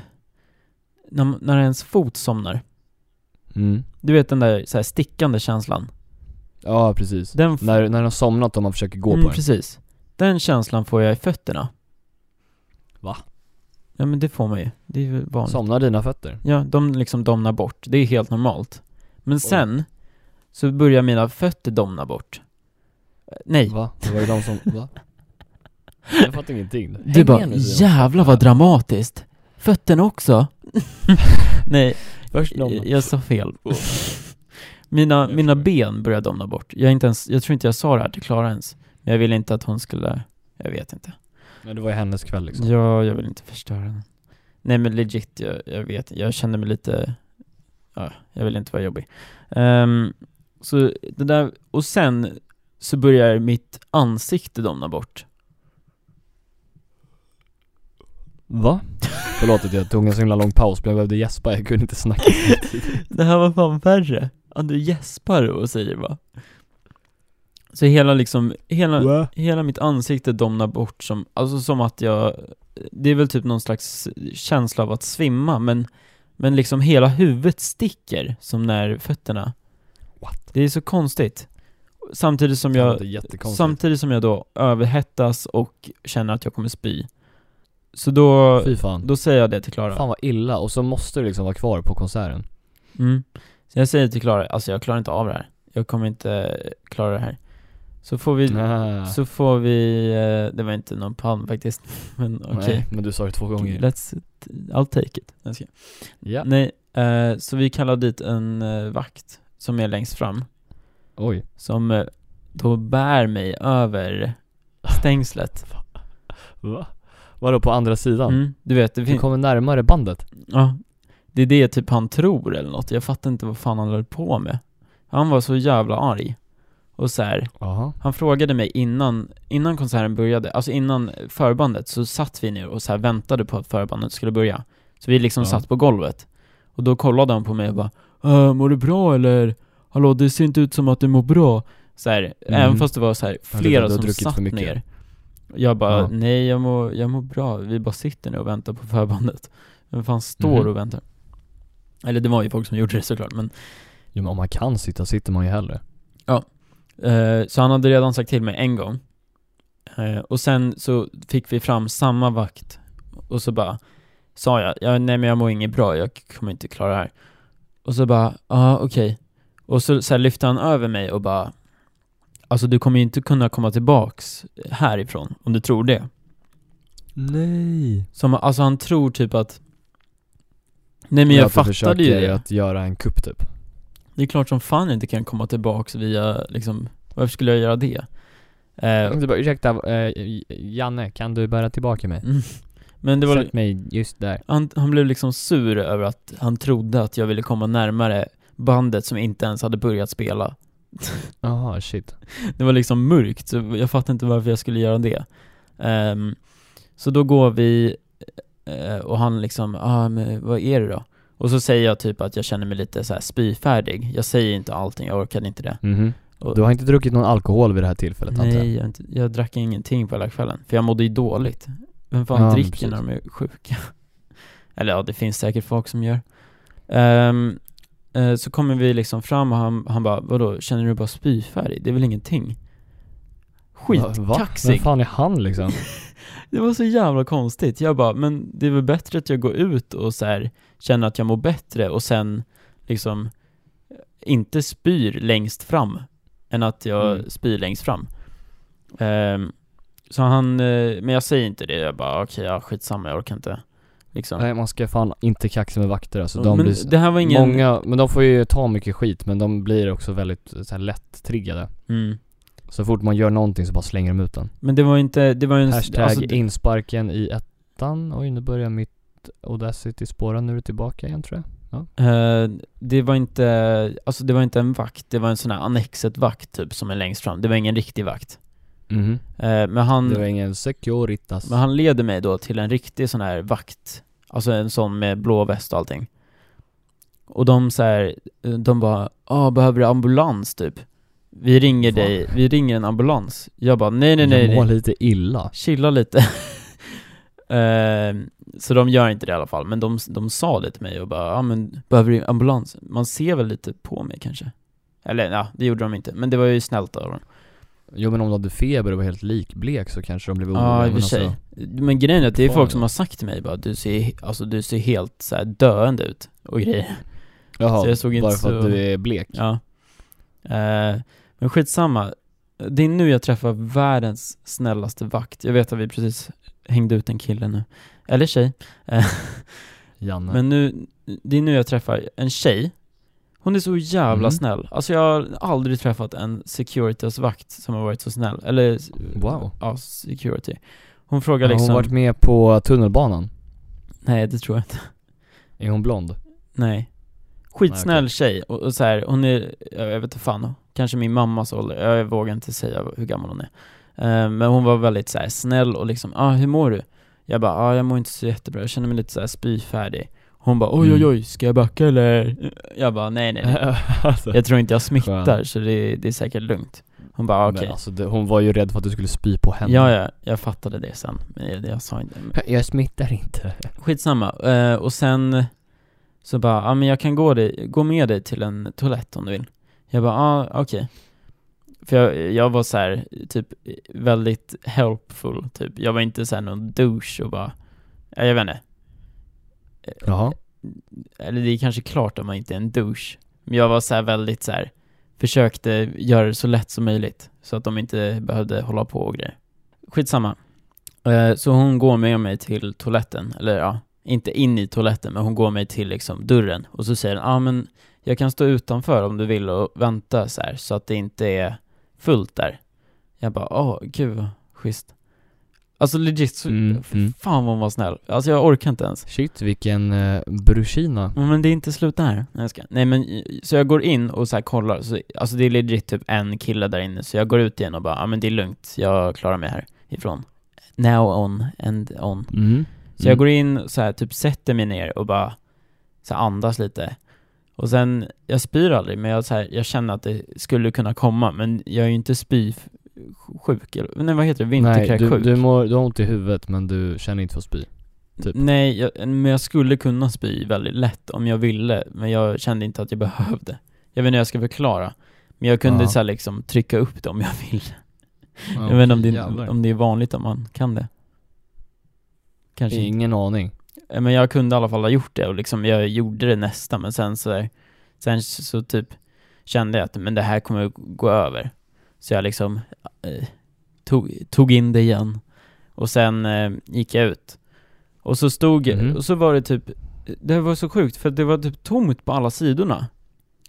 när, när ens fot somnar. Mm. Du vet den där så här stickande känslan. Ja precis. Den f- När, när de har somnat och man försöker gå mm, på den. precis. Den känslan får jag i fötterna. Va? Ja men det får man ju. Det det är väl vanligt. Somnar dina fötter? Ja, de liksom domnar bort. Det är helt normalt. Men sen så börjar mina fötter domna bort. Eh, Nej. Va? Det var ju de som... [laughs] Va? Jag fattar ingenting. Du Häng bara, med nu, Simon. jävlar vad dramatiskt. Fötterna [laughs] också. Nej, Först domnar. jag, jag sa fel. Mina, [laughs] Jag mina förstår. ben började domna bort. Jag, är inte ens, jag tror inte jag sa det här till Klara ens. Men jag ville inte att hon skulle, jag vet inte. Men det var ju hennes kväll liksom. Ja, jag vill inte förstöra den. Nej men legit, jag, jag vet Jag kände mig lite, ja, jag vill inte vara jobbig. Ehm, så det där, och sen så börjar mitt ansikte domna bort. Va? Förlåt att jag tog en så himla lång paus, men jag behövde gäspa, jag kunde [laughs] inte snacka. Det här var fan värre. Ja, du gäspar och säger va? Så hela liksom, hela, Va? hela mitt ansikte domnar bort som, alltså som att jag, det är väl typ någon slags känsla av att svimma men, men liksom hela huvudet sticker som när fötterna. What? Det är så konstigt. Samtidigt som Det jag, låter jättekonstigt. samtidigt som jag då överhettas och känner att jag kommer spy. Så då, Fy fan. då säger jag det till Klara. Fan vad illa, och så måste du liksom vara kvar på konserten. Mm. Så jag säger till Klara, alltså jag klarar inte av det här. Jag kommer inte klara det här. Så får vi, Nej. så får vi, eh, det var inte någon palm faktiskt, [laughs] men okej. Nej, men du sa det två gånger. Let's, I'll take it. Jag ska- Ja. Nej, eh, så vi kallar dit en eh, vakt som är längst fram, Oj. som eh, då bär mig över stängslet. Va? Vadå, på andra sidan? Mm, du vet, det Du finns, kommer närmare bandet. ja, det är det typ han tror eller något. Jag fattar inte vad fan han höll på med. Han var så jävla arg. Och så här, Jaha. Han frågade mig innan, innan konserten började, alltså innan förbandet, så satt vi ner och så här väntade på att förbandet skulle börja. Så vi liksom Ja. satt på golvet. Och då kollade han på mig och bara äh, 'Mår du bra eller? Hallå det ser inte ut som att du mår bra' så här, även fast det var så här Mm. du- flera du har som druckit satt för mycket. ner. Jag bara Ja. 'Nej jag mår, jag mår bra, vi bara sitter nu och väntar på förbandet' Vem fan står Mhm. och väntar? Eller det var ju folk som gjorde det såklart men Jo men om man kan sitta sitter man ju hellre. Eh, Så han hade redan sagt till mig en gång. Eh, Och sen så fick vi fram samma vakt. Och så bara sa jag, ja, nej men jag mår inget bra, jag kommer inte klara det här. Och så bara, ja ah, okej. Och så, så här lyfte han över mig och bara, alltså du kommer ju inte kunna komma tillbaks härifrån om du tror det. Nej. Som, alltså han tror typ att, nej men jag fattade ju det. att göra en kupp typ. Det är klart som fan jag inte kan komma tillbaks via liksom, varför skulle jag göra det? Eh, Du bara, ursäkta, eh, Janne, kan du bära tillbaka mig? Mm. Men det var, Sätt mig just där. han, han blev liksom sur över att han trodde att jag ville komma närmare bandet som inte ens hade börjat spela. Jaha, shit. Det var liksom mörkt, så jag fattade inte varför jag skulle göra det. Ehm, så då går vi eh, och han liksom, ah, men vad är det då? Och så säger jag typ att jag känner mig lite så här spyfärdig. Jag säger inte allting, jag orkade inte det. Mhm. Och- Du har inte druckit någon alkohol vid det här tillfället antar jag? Nej, jag, inte, jag drack ingenting på hela kvällen, för jag mådde ju dåligt. Vem fan Ja, men dricker precis. när de är sjuka? [laughs] Eller ja, det finns säkert folk som gör. Ehm, eh, så kommer vi liksom fram och han, han bara, vadå, känner du bara spyfärg? Det är väl ingenting? Va? Vem Skitkaxig. fan är han liksom? Det var så jävla konstigt. Jag bara, men det är väl bättre att jag går ut och så här känner att jag mår bättre och sen liksom inte spyr längst fram än att jag Mm. spyr längst fram. Ehm, så han, eh, men jag säger inte det, jag bara okej, ja skitsamma, jag orkar inte. Liksom. Nej man ska fan inte kaxa med vakter alltså. De men blir det här var ingen... många, men de får ju ta mycket skit men de blir också väldigt eh, så här, lätt triggade. Mm. Så fort man gör någonting så bara slänger de ut den. Men det var ju inte, det var ju en... Hashtag alltså, det- insparken i ettan. Oj, nu börjar mitt Audacity spåra. Nu är det tillbaka igen tror jag. Eh, det var inte, alltså det var inte en vakt, det var en sån här Annexet-vakt typ som är längst fram. Det var ingen riktig vakt. Mhm. Eh, men han... Det var ingen Securitas. Men han leder mig då till en riktig sån här vakt, alltså en sån med blå väst och allting. Och de så här, de bara ah, behöver du ambulans typ? Vi ringer Fan. dig, vi ringer en ambulans. Jag bara nej nej nej, jag mår nej. lite illa. chilla lite. [laughs] Eh, så de gör inte det i alla fall, men de, de sa det till mig och bara ah, men behöver du ambulans? Man ser väl lite på mig kanske? Eller ja, det gjorde de inte, men det var ju snällt av dem. Jo men om du hade feber och var helt likblek så kanske de blev Ja, oroliga. i och men för sig. alltså, Men grejen är att det är Fan, folk som ja. har sagt till mig bara du ser, alltså, du ser helt så här döende ut och grejer. Jaha, Så jag såg inte bara för att så- du är blek. Ja. Eh, men skitsamma. Det är nu jag träffar världens snällaste vakt. Jag vet att vi precis hängde ut en kille nu. Eller tjej. Janne. Men nu, det är nu jag träffar en tjej. Hon är så jävla Mhm. snäll. Alltså jag har aldrig träffat en Securitas-vakt som har varit så snäll. Eller, Wow. ja, security. Hon frågar Har liksom... hon varit med på tunnelbanan? Nej, det tror jag inte. Är hon blond? Nej. Skitsnäll tjej. Och, och så här, hon är, jag vet inte fan, kanske min mammas ålder. Jag vågar inte säga hur gammal hon är. Eh, men hon var väldigt så här, snäll och liksom, ah, hur mår du? Jag bara, ah, jag mår inte så jättebra. Jag känner mig lite så här spyfärdig. Hon bara, oj oj Mm. oj, ska jag backa eller? Jag bara, nej nej. nej. [laughs] alltså. Jag tror inte jag smittar Skön. så det, det är säkert lugnt. Hon bara okej. Men alltså, det, hon var ju rädd för att du skulle spy på henne. Ja, ja, jag fattade det sen. Men jag, jag sa inte. men Jag smittar inte. Skitsamma. Eh, och sen så bara, ja men jag kan gå, dig, gå med dig till en toalett om du vill. Jag bara, ja ah, okej. För jag, jag var så här, typ väldigt helpful, typ. Jag var inte så här någon douche och bara, ja, jag vet inte. Jaha. eller det är kanske klart om man inte är en douche. Men jag var så här väldigt så här försökte göra det så lätt som möjligt. Så att de inte behövde hålla på och grejer. Skitsamma. Eh, Så hon går med mig till toaletten, eller ja, inte in i toaletten, men hon går mig till liksom dörren. Och så säger hon, ja ah, men jag kan stå utanför om du vill och vänta så här, så att det inte är fullt där. Jag bara, åh gud vad schysst. Alltså legit, så, Mm, mm. fan vad hon var snäll. Alltså jag orkar inte ens. Shit, vilken uh, bruschina. Ja, Men det är inte slut där. Nej, jag ska. Nej men, eh, så jag går in och så här kollar, så, alltså det är legit typ en kille där inne, så jag går ut igen och bara, ja ah, men det är lugnt, jag klarar mig härifrån. Now on, and on. Mm. Så jag går in och så här, typ sätter mig ner och bara så här, andas lite. Och sen, jag spyr aldrig, men jag, så här, jag känner att det skulle kunna komma, men jag är ju inte spysjuk, eller nej, vad heter det, Nej, du, vinterkräksjuk. du, mår, du har ont i huvudet men du känner inte för att spy. typ. Nej, jag, men jag skulle kunna spy väldigt lätt om jag ville, men jag kände inte att jag behövde. Jag vet inte hur jag ska förklara. Men jag kunde Ja. så här liksom trycka upp det om jag ville. jag vet inte om det, är- Jävlar. om det är vanligt om man kan det. Kanske inte. Ingen aning. Eh, Men jag kunde i alla fall ha gjort det och liksom, jag gjorde det nästa men sen så, där- sen så så typ kände jag att men det här kommer att gå över. Så jag liksom eh, tog, tog in det igen. Och sen eh, gick jag ut. Och så stod, Mhm. och så var det typ, det var så sjukt för det var typ tomt på alla sidorna.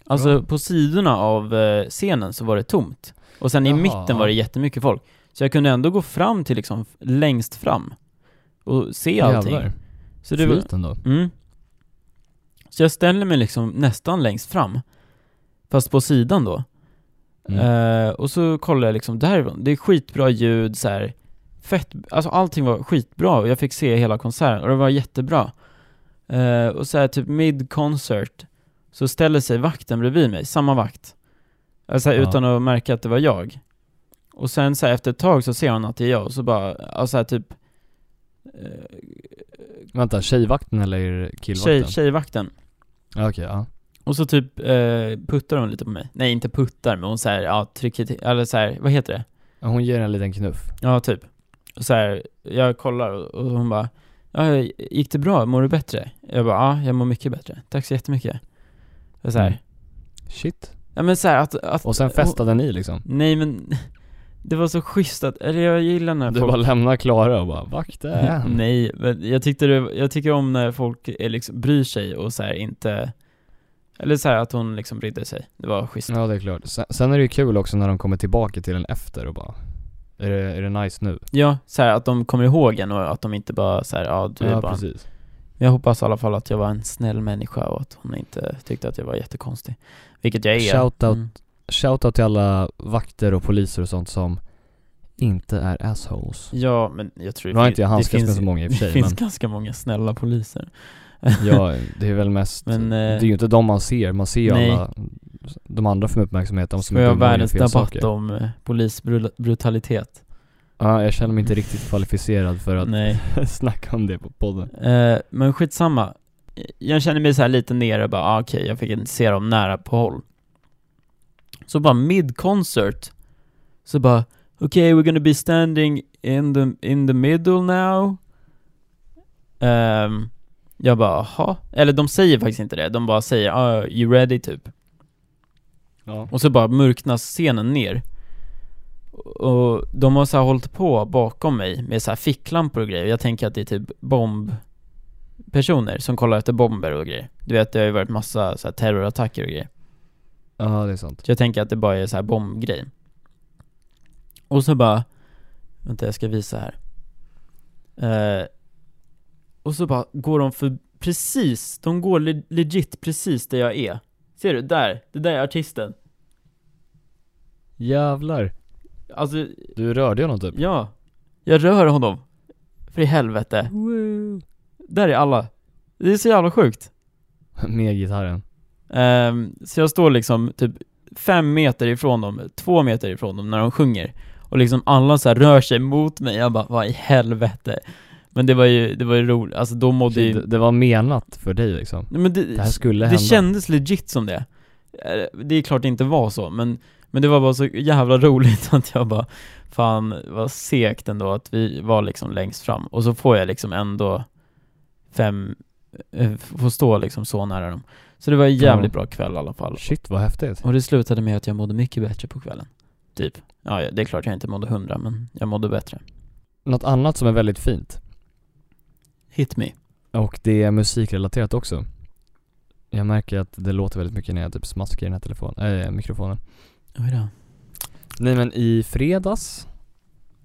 Alltså Ja. på sidorna av eh, scenen så var det tomt. Och sen i Jaha, mitten var ja. det jättemycket folk. Så jag kunde ändå gå fram till liksom längst fram. Och se allting. Jävlar. Så det var, Flyt ändå. Mm. Så jag ställer mig liksom nästan längst fram. Fast på sidan då. Mm. Eh, och så kollar jag liksom därifrån. Det är skitbra ljud så här. Fett, alltså allting var skitbra och jag fick se hela konserten och det var jättebra. Eh, och så här typ mid concert så ställer sig vakten bredvid mig, samma vakt. Alltså här, Ja. utan att märka att det var jag. Och sen så här, efter ett tag så ser hon att det är jag och så bara, alltså här, typ eh, Vänta, tjejvakten eller killvakten? tjej, tjejvakten. Ja, Okej, ja. Och så typ eh, puttar hon lite på mig. Nej, inte puttar, men hon såhär, ja, trycker till, eller såhär, vad heter det? Ja, Hon ger en liten knuff. Ja, typ. Och såhär, jag kollar och och hon bara, ja, gick det bra? Mår du bättre? Jag bara, ja, jag mår mycket bättre. Tack så jättemycket. Och såhär, Mm. Shit. ja men såhär att, att Och sen festade ni liksom. hon- nej men, det var så schysst att, eller jag gillar när Du folk... bara lämnar Klara och bara 'Vakten' [laughs] Nej, men jag tyckte det, jag tycker om när folk är liksom, bryr sig och såhär inte, eller såhär att hon liksom brydde sig. Det var schysst. Ja det är klart. Sen, sen är det ju kul också när de kommer tillbaka till en efter och bara Är det, är det nice nu? Ja, så här att de kommer ihåg en och att de inte bara så här, Typ, ja du är ja bara en. precis. Men Jag hoppas i alla fall att jag var en snäll människa och att hon inte tyckte att jag var jättekonstig. Vilket jag är. Shoutout. Mm. Shoutout till alla vakter och poliser och sånt som inte är assholes. Ja, men jag tror Nu har fin- inte jag handskats med så många i och för Det sig finns men ganska många snälla poliser. [laughs] ja, det är väl mest, Men, eh, det är ju inte de man ser, man ser ju nej. alla de andra för uppmärksamhet, de som Ska jag dumma och gör världens fel debatt saker. om eh, polisbrutalitet? Ja, jag känner mig inte riktigt kvalificerad för att Nej. [laughs] snacka om det på podden. Eh, men skitsamma. Jag känner mig så här lite nere och bara, ah, okej, jag fick inte se dem nära på håll. Så bara mid concert, så bara, okej, okay, we're gonna be standing in the, in the middle now. Ehm, jag bara, aha. Eller de säger faktiskt inte det, de bara säger ah, you ready typ. Ja. Och så bara mörknas scenen ner. Och de har så här hållit på bakom mig med så här ficklampor och grejer. Jag tänker att det är typ bombpersoner som kollar efter bomber och grejer. Du vet, det har ju varit massa så här terrorattacker och grejer. ja, det är sant. Så jag tänker att det bara är så här bombgrej. Och så bara, vänta jag ska visa här. Eh, och så bara går de för, precis, de går le- legit precis där jag är. Ser du? Där, det där är artisten. Jävlar. Alltså, Du rörde honom typ. ja. Jag rör honom. För i helvete. Där är alla. Det är så jävla sjukt. Med gitarren. Ehm, så jag står liksom typ fem meter ifrån dem, två meter ifrån dem när de sjunger. Och liksom alla så här rör sig mot mig, jag bara vad i helvete. Men det var ju, det var ju roligt, alltså då mådde ju... Det, det var menat för dig liksom. Nej, men Det här skulle det hända. kändes legit som det. Eh, Det är klart det inte var så, men, men det var bara så jävla [laughs] roligt att jag bara, fan vad segt ändå att vi var liksom längst fram. Och så får jag liksom ändå fem, eh, får stå liksom så nära dem. Så det var en jävligt bra kväll i alla fall. Shit vad häftigt. Och det slutade med att jag mådde mycket bättre på kvällen. Typ. Ja, ja, det är klart jag inte mådde hundra, men jag mådde bättre. Något annat som är väldigt fint. Hit me. Och det är musikrelaterat också. Jag märker att det låter väldigt mycket när jag typ smaskar i den här telefonen, äh, mikrofonen. Oj då. Nej men i fredags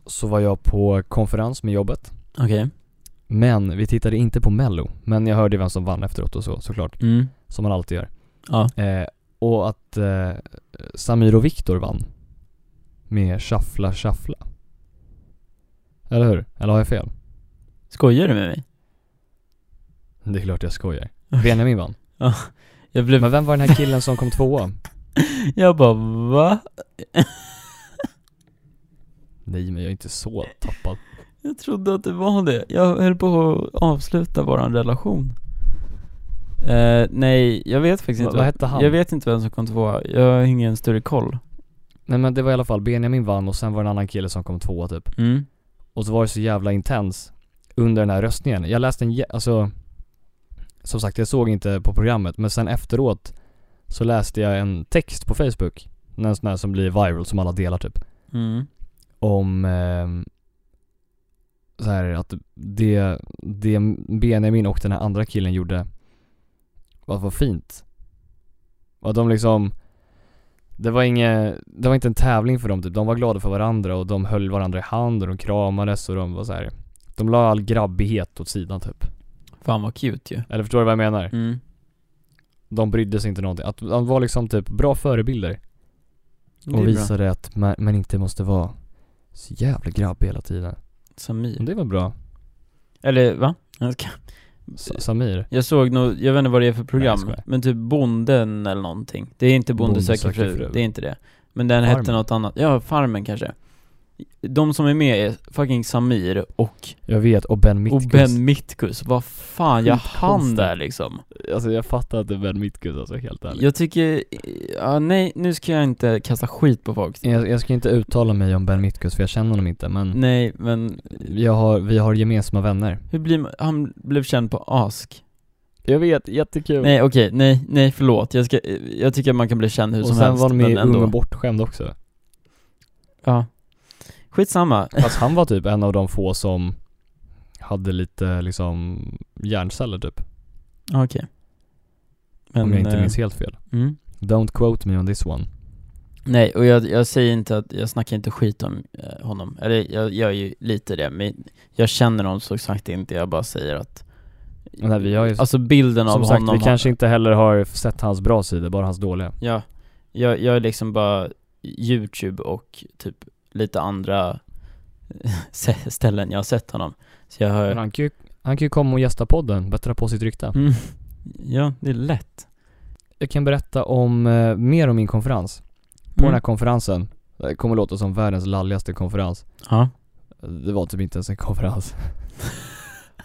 så var jag på konferens med jobbet. Okej. Men vi tittade inte på mello. Men jag hörde vem som vann efteråt och så såklart. Mm. Som man alltid gör. Ja. Eh, och att eh, Samir och Viktor vann. Med Shuffla Shuffla. Eller hur? Eller har jag fel? Skojar du med mig? Det är klart jag skojar. [laughs] Benjamin vann. Jag blev... Men vem var den här killen som kom tvåa? [laughs] Jag bara va? [laughs] Nej men jag är inte så tappad. Jag trodde att det var det. Jag höll på att avsluta våran relation. Eh, nej, jag vet faktiskt Va- inte. vad hette han? Jag vet inte vem som kom tvåa. Jag har ingen större koll. Nej men det var i alla fall Benjamin vann och sen var det en annan kille som kom tvåa typ. Mm. Och så var det så jävla intens under den här röstningen. Jag läste en, jä- alltså som sagt jag såg inte på programmet men sen efteråt så läste jag en text på Facebook. En sån här som blir viral som alla delar typ. Mm. Om eh, så här att det, det Benjamin och den här andra killen gjorde var, var fint. Att de liksom det var, inget, det var inte en tävling för dem typ. De var glada för varandra och de höll varandra i hand och de kramades och de var så här. De la all grabbighet åt sidan typ. Fan vad cute ju. Eller förstår du vad jag menar? Mm. De brydde sig inte någonting. Att de var liksom typ bra förebilder. Det är Och bra. visade att man, man inte måste vara så jävla grabbig hela tiden. Samir. Det var bra. Eller va? Jag ska... Sa- Samir. Jag såg nog, jag vet inte vad det är för program, Nej, jag skojar. men typ Bonden eller någonting. Det är inte Bonde Bonde söker söker fru, fru. det är inte det. Men den hette Farmen. något annat, ja Farmen kanske. De som är med är fucking Samir och, Jag vet, och Ben och Mitkus. Ben Mitkus. Vad fan, jag hann Skitkonstigt. där liksom. Alltså jag fattar inte Ben Mitkus alltså helt ärligt. Jag tycker, ja nej nu ska jag inte kasta skit på folk. Jag, jag ska inte uttala mig om Ben Mitkus för jag känner honom inte men Nej men, jag har, vi har gemensamma vänner. hur blir man, han blev känd på Ask. Jag vet, jättekul. Nej okej, nej, nej förlåt. Jag, ska, jag tycker man kan bli känd hur och som sen helst. var han med i men Ung och ändå. bortskämd också. Ja. Skitsamma. Fast han var typ en av de få som hade lite liksom hjärnceller typ. Okej. Men, om jag inte eh, minns helt fel. mm. Don't quote me on this one. Nej, och jag, jag säger inte att, jag snackar inte skit om eh, honom. Eller jag gör ju lite det, men jag känner honom så sagt inte, jag bara säger att Nej, vi har ju, Alltså bilden av som sagt, honom vi kanske inte heller har sett hans bra sida, bara hans dåliga. Ja, jag, jag är liksom bara youtube och typ lite andra [laughs] s- ställen jag har sett honom. Så jag har Men han kan ju, han kan ju komma och gästa podden, bättra på sitt rykte. mm, Ja, det är lätt. Jag kan berätta om, eh, mer om min konferens. På Mm. den här konferensen, det kommer låta som världens lalligaste konferens. [laughs] Ja. Det var typ inte ens en [laughs] konferens.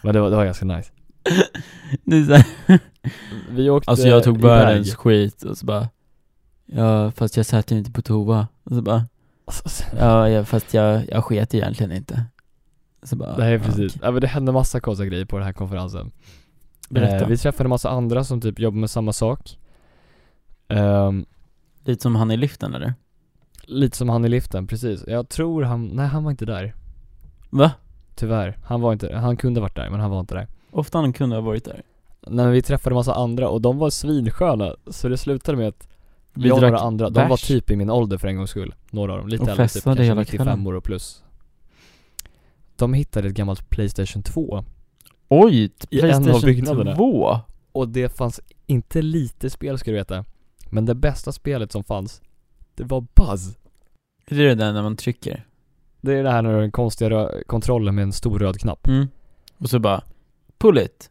Men det var, det var ganska nice. Det är så här- Vi åkte Alltså jag tog iväg. [laughs] världens skit och så bara Ja fast jag satt ju inte på toa och så bara Alltså, Ja, ja fast jag, jag sket egentligen inte Så bara, Nej ja, precis. okej. Ja, men det hände massa konstiga grejer på den här konferensen. Berätta. Eh, vi träffade en massa andra som typ jobbar med samma sak. Ehm, Lite som han i liften eller? lite som han i liften, precis. Jag tror han, nej han var inte där. Va? Tyvärr. Han var inte, han kunde varit där men han var inte där. Ofta han kunde ha varit där. Nej men vi träffade en massa andra och de var svinsköna. Så det slutade med att Vi jag och drack några andra, de var bärs. typ i min ålder för en gångs skull. Några av dem, lite Och äldre, typ festade kanske hela 95 kvällen. år och plus. De hittade ett gammalt Playstation 2. Oj! I en av Playstation byggnaderna. 2? Och det fanns inte lite spel ska du veta. Men det bästa spelet som fanns, det var Buzz. Är det det där när man trycker? Det är det här när du har den konstiga rö- kontrollen med en stor röd knapp. Mm. Och så bara Pull it!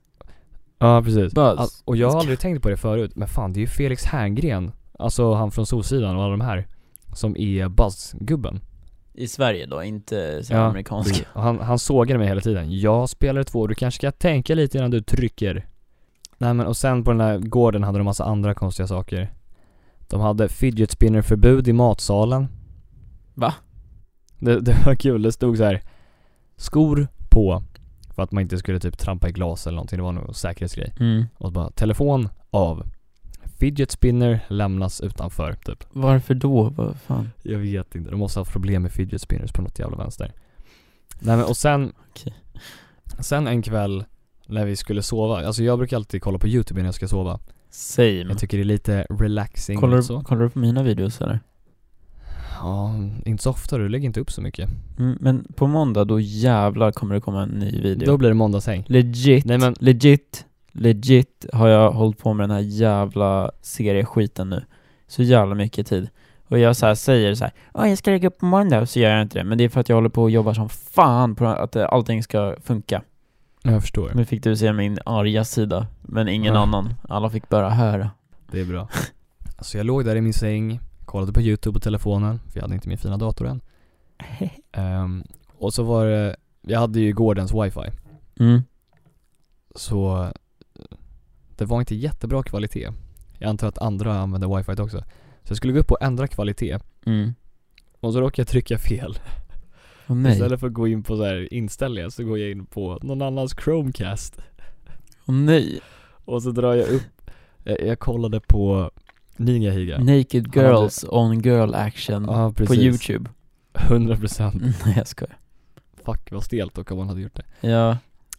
Ja, precis. Buzz. Al- och jag har aldrig tänkt på det förut, men fan det är ju Felix Herngren, alltså han från Solsidan och alla de här, som är Buzz-gubben. I Sverige då, inte så Ja. amerikanska. Och Mm. Han, han sågar mig hela tiden. Jag spelar två, du kanske ska tänka lite innan du trycker. Nej men och sen på den här gården hade de massa andra konstiga saker. De hade fidget spinner-förbud i matsalen. Va? Det, det var kul, det stod så här. Skor på. För att man inte skulle typ trampa i glas eller någonting, det var någon säkerhetsgrej. Mm. Och bara telefon av. Fidget spinner lämnas utanför typ. Varför då? Vad fan? Jag vet inte, de måste ha haft problem med fidget spinners på något jävla vänster. Nej men och sen Okej. Sen en kväll när vi skulle sova, alltså jag brukar alltid kolla på youtube när jag ska sova. Same. Jag tycker det är lite relaxing Mm. Kollar och du, så. kollar du på mina videos eller? Ja, inte så ofta, du lägger inte upp så mycket. Mm, men på måndag, då jävlar kommer det komma en ny video. Då blir det måndagshäng. Legit, Nej, men- legit, legit har jag hållit på med den här jävla serieskiten nu. Så jävla mycket tid. Och jag så här säger så här, "Ja, jag ska lägga upp på måndag, så gör jag inte det. Men det är för att jag håller på och jobbar som fan på att eh, allting ska funka. Jag förstår. Nu fick du se min arga sida, men ingen Ja. annan. Alla fick bara höra. Det är bra. Så jag låg där i min säng, kollade på youtube på telefonen, för jag hade inte min fina [laughs] dator än. Ehm, och så var det, jag hade ju gårdens wifi. Mm. Så eh, det var inte jättebra kvalitet. Jag antar att andra använde wifi också. Så jag skulle gå upp och ändra kvalitet. Mm. Och så råkade jag trycka fel. Åh nej. Istället för att gå in på så här inställningar så går jag in på någon annans Chromecast Åh nej. och så drar jag upp, jag, jag kollade på Ninja Higa. Naked Han hade- girls on girl action. Ja på precis. youtube. [laughs] Mm. 100% Nej jag skojar. Fuck vad stelt dock om man hade gjort det. Ja.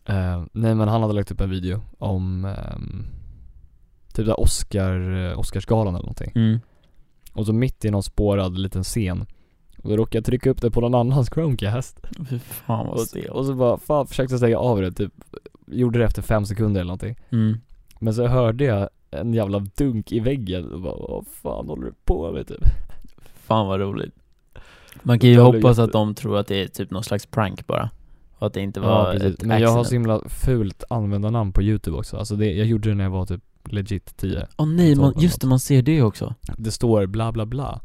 Eh, nej men han hade lagt upp en video om ehm, typ där Oscar, eh, Oscarsgalan eller någonting. Mm. Och så mitt i någon spårad liten scen. Och då råkade jag trycka upp det på någon annans Chromecast. Fy fan vad Och, stelt. och så bara, fan försökte stänga av det typ. Gjorde det efter fem sekunder eller någonting. Mm. Men så hörde jag en jävla dunk i väggen och bara vad fan håller du på med typ? Fan vad roligt. Man kan ju Jag håller hoppas jätte- att de tror att det är typ någon slags prank bara. Och att det inte var Ja ett precis, men jag har så accident. himla fult användarnamn på youtube också, alltså det, jag gjorde det när jag var typ legit 10 Åh nej, man, Tolv just det, man ser det också. Det står bla bla bla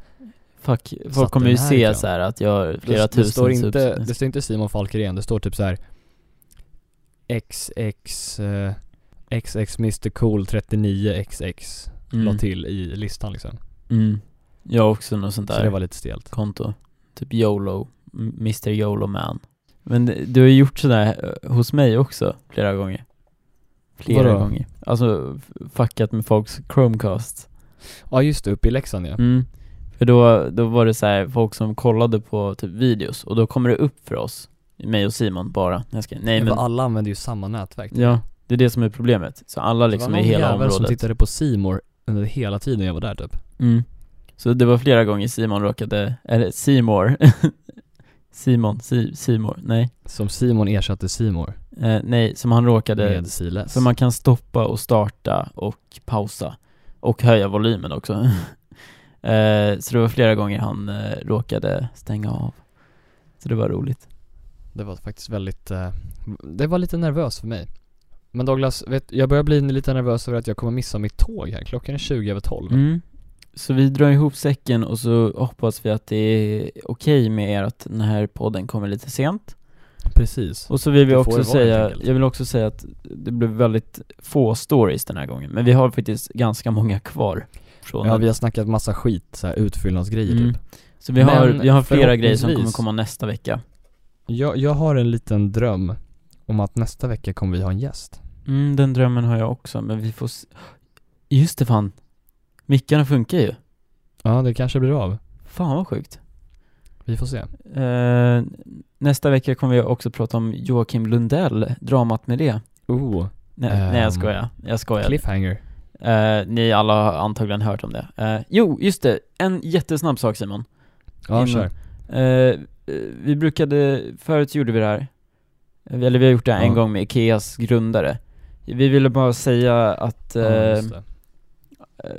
Fuck, folk Satt kommer den ju här se ikväll. så här att jag har flera det, tusen det, står inte, subs- det står inte Simon Falkeren, det står typ så här XX eh, XX Mr Cool 39 XX la Mm. till i listan liksom Mm. Jag har också något sånt Så det där var lite stelt konto. Typ YOLO, M- Mr YOLO man. Men det- du har ju gjort sådär eh, hos mig också, flera gånger. Flera Vadå? gånger. Alltså, f- fuckat med folks Chromecast. Ja just det, uppe i Leksand ja Mm. För då, då var det så här, folk som kollade på typ videos och då kommer det upp för oss, mig och Simon bara. Jag ska, nej men... men, Alla använder ju samma nätverk ja, det är det som är problemet. Så alla liksom i hela Det var någon jävel som området. tittade på Simor under hela tiden jag var där typ. Mm. Så det var flera gånger Simon råkade, eller Simor [laughs] Simon, Si- Simor, nej. Som Simon ersatte Simor Eh, nej, som han råkade, med Siles. som man kan stoppa och starta och pausa. Och höja volymen också. [laughs] eh, så det var flera gånger han eh, råkade stänga av. Så det var roligt. Det var faktiskt väldigt, eh, det var lite nervöst för mig. Men Douglas, vet, jag börjar bli lite nervös över att jag kommer missa mitt tåg här. Klockan är 20 över 12. Mm. Så vi drar ihop säcken och så hoppas vi att det är okej med er att den här podden kommer lite sent. Precis. Och så vill vi Det får det också vara, helt säga, enkelt. jag vill också säga att det blev väldigt få stories den här gången, men vi har faktiskt ganska många kvar. Från Ja, vi har snackat massa skit, så här utfyllnadsgrejer Mm. typ. Så vi har, Men vi har flera grejer som kommer förhoppningsvis- komma nästa vecka. Jag, jag har en liten dröm om att nästa vecka kommer vi ha en gäst. Mm, den drömmen har jag också, men vi får s- Just det fan, mickarna funkar ju. Ja, det kanske blir av. Fan vad sjukt. Vi får se. Eh, nästa vecka kommer vi också prata om Joakim Lundell, dramat med det. Oh, Nej, Ehm, nej jag skojar. Jag skojar. cliffhanger. Eh, ni alla har antagligen hört om det. Eh, jo, just det. En jättesnabb sak Simon. Innan- Ja, kör. Eh, eh, vi brukade, förut så gjorde vi det här, Eh, eller vi har gjort det här en Ja. gång med Ikeas grundare. Vi ville bara säga att Ja, eh, just det. eh,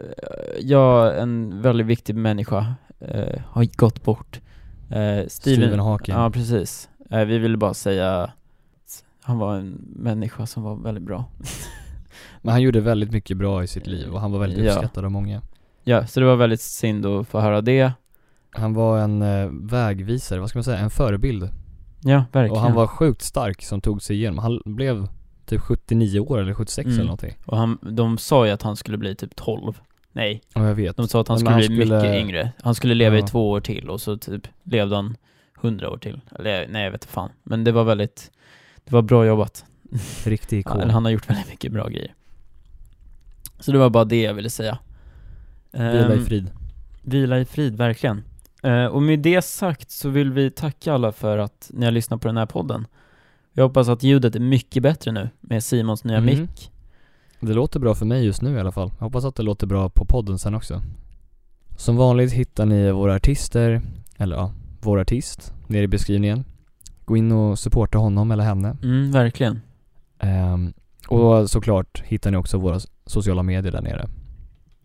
jag, en väldigt viktig människa, eh, har gått bort. Eh, Stephen Hawking. Ja, precis. Eh, vi ville bara säga att han var en människa som var väldigt bra. Men han gjorde väldigt mycket bra i sitt liv och han var väldigt Eh, Ja. uppskattad av många. Ja, så det var väldigt synd att få höra det. Han var en eh, vägvisare, vad ska man säga, en förebild. Ja, verkligen. Och han var sjukt stark som tog sig igenom. Han blev typ 79 år eller 76 Mm. eller någonting. Och han, de sa ju att han skulle bli typ 12. Nej, Ja, jag vet. de sa att han Men skulle han bli mycket skulle- yngre. Han skulle leva i Ja. två år till och så typ levde han hundra år till. Eller nej, jag vet inte fan. Men det var väldigt, det var bra jobbat. Riktig ikon. Eller han har gjort väldigt mycket bra grejer. Så det var bara det jag ville säga. Vila i Ehm, frid. Vila i frid, verkligen. Eh, och med det sagt så vill vi tacka alla för att ni har lyssnat på den här podden. Jag hoppas att ljudet är mycket bättre nu med Simons nya Mm. mick. Det låter bra för mig just nu i alla fall. Jag hoppas att det låter bra på podden sen också. Som vanligt hittar ni våra artister, eller ja, vår artist, nere i beskrivningen. Gå in och supporta honom eller henne. Mm, verkligen. Ehm, och såklart hittar ni också våra sociala medier där nere.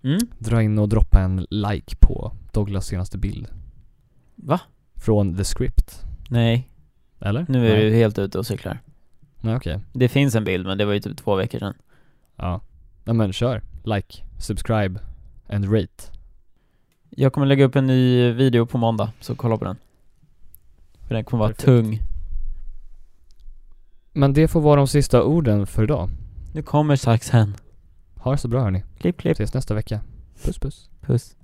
Mm. Dra in och droppa en like på Douglas senaste bild. Va? Från The Script. Nej, Eller? nu är Nej. du helt ute och cyklar. Nej okej. Det finns en bild, men det var ju typ två veckor sedan. Ja. Nej men kör. Like, subscribe and rate. Jag kommer lägga upp en ny video på måndag, så kolla på den. För den kommer vara Perfekt. tung. Men det får vara de sista orden för idag. Nu kommer saxen. Ha det så bra hörni. Klipp, klipp. Ses nästa vecka. Puss puss. Puss.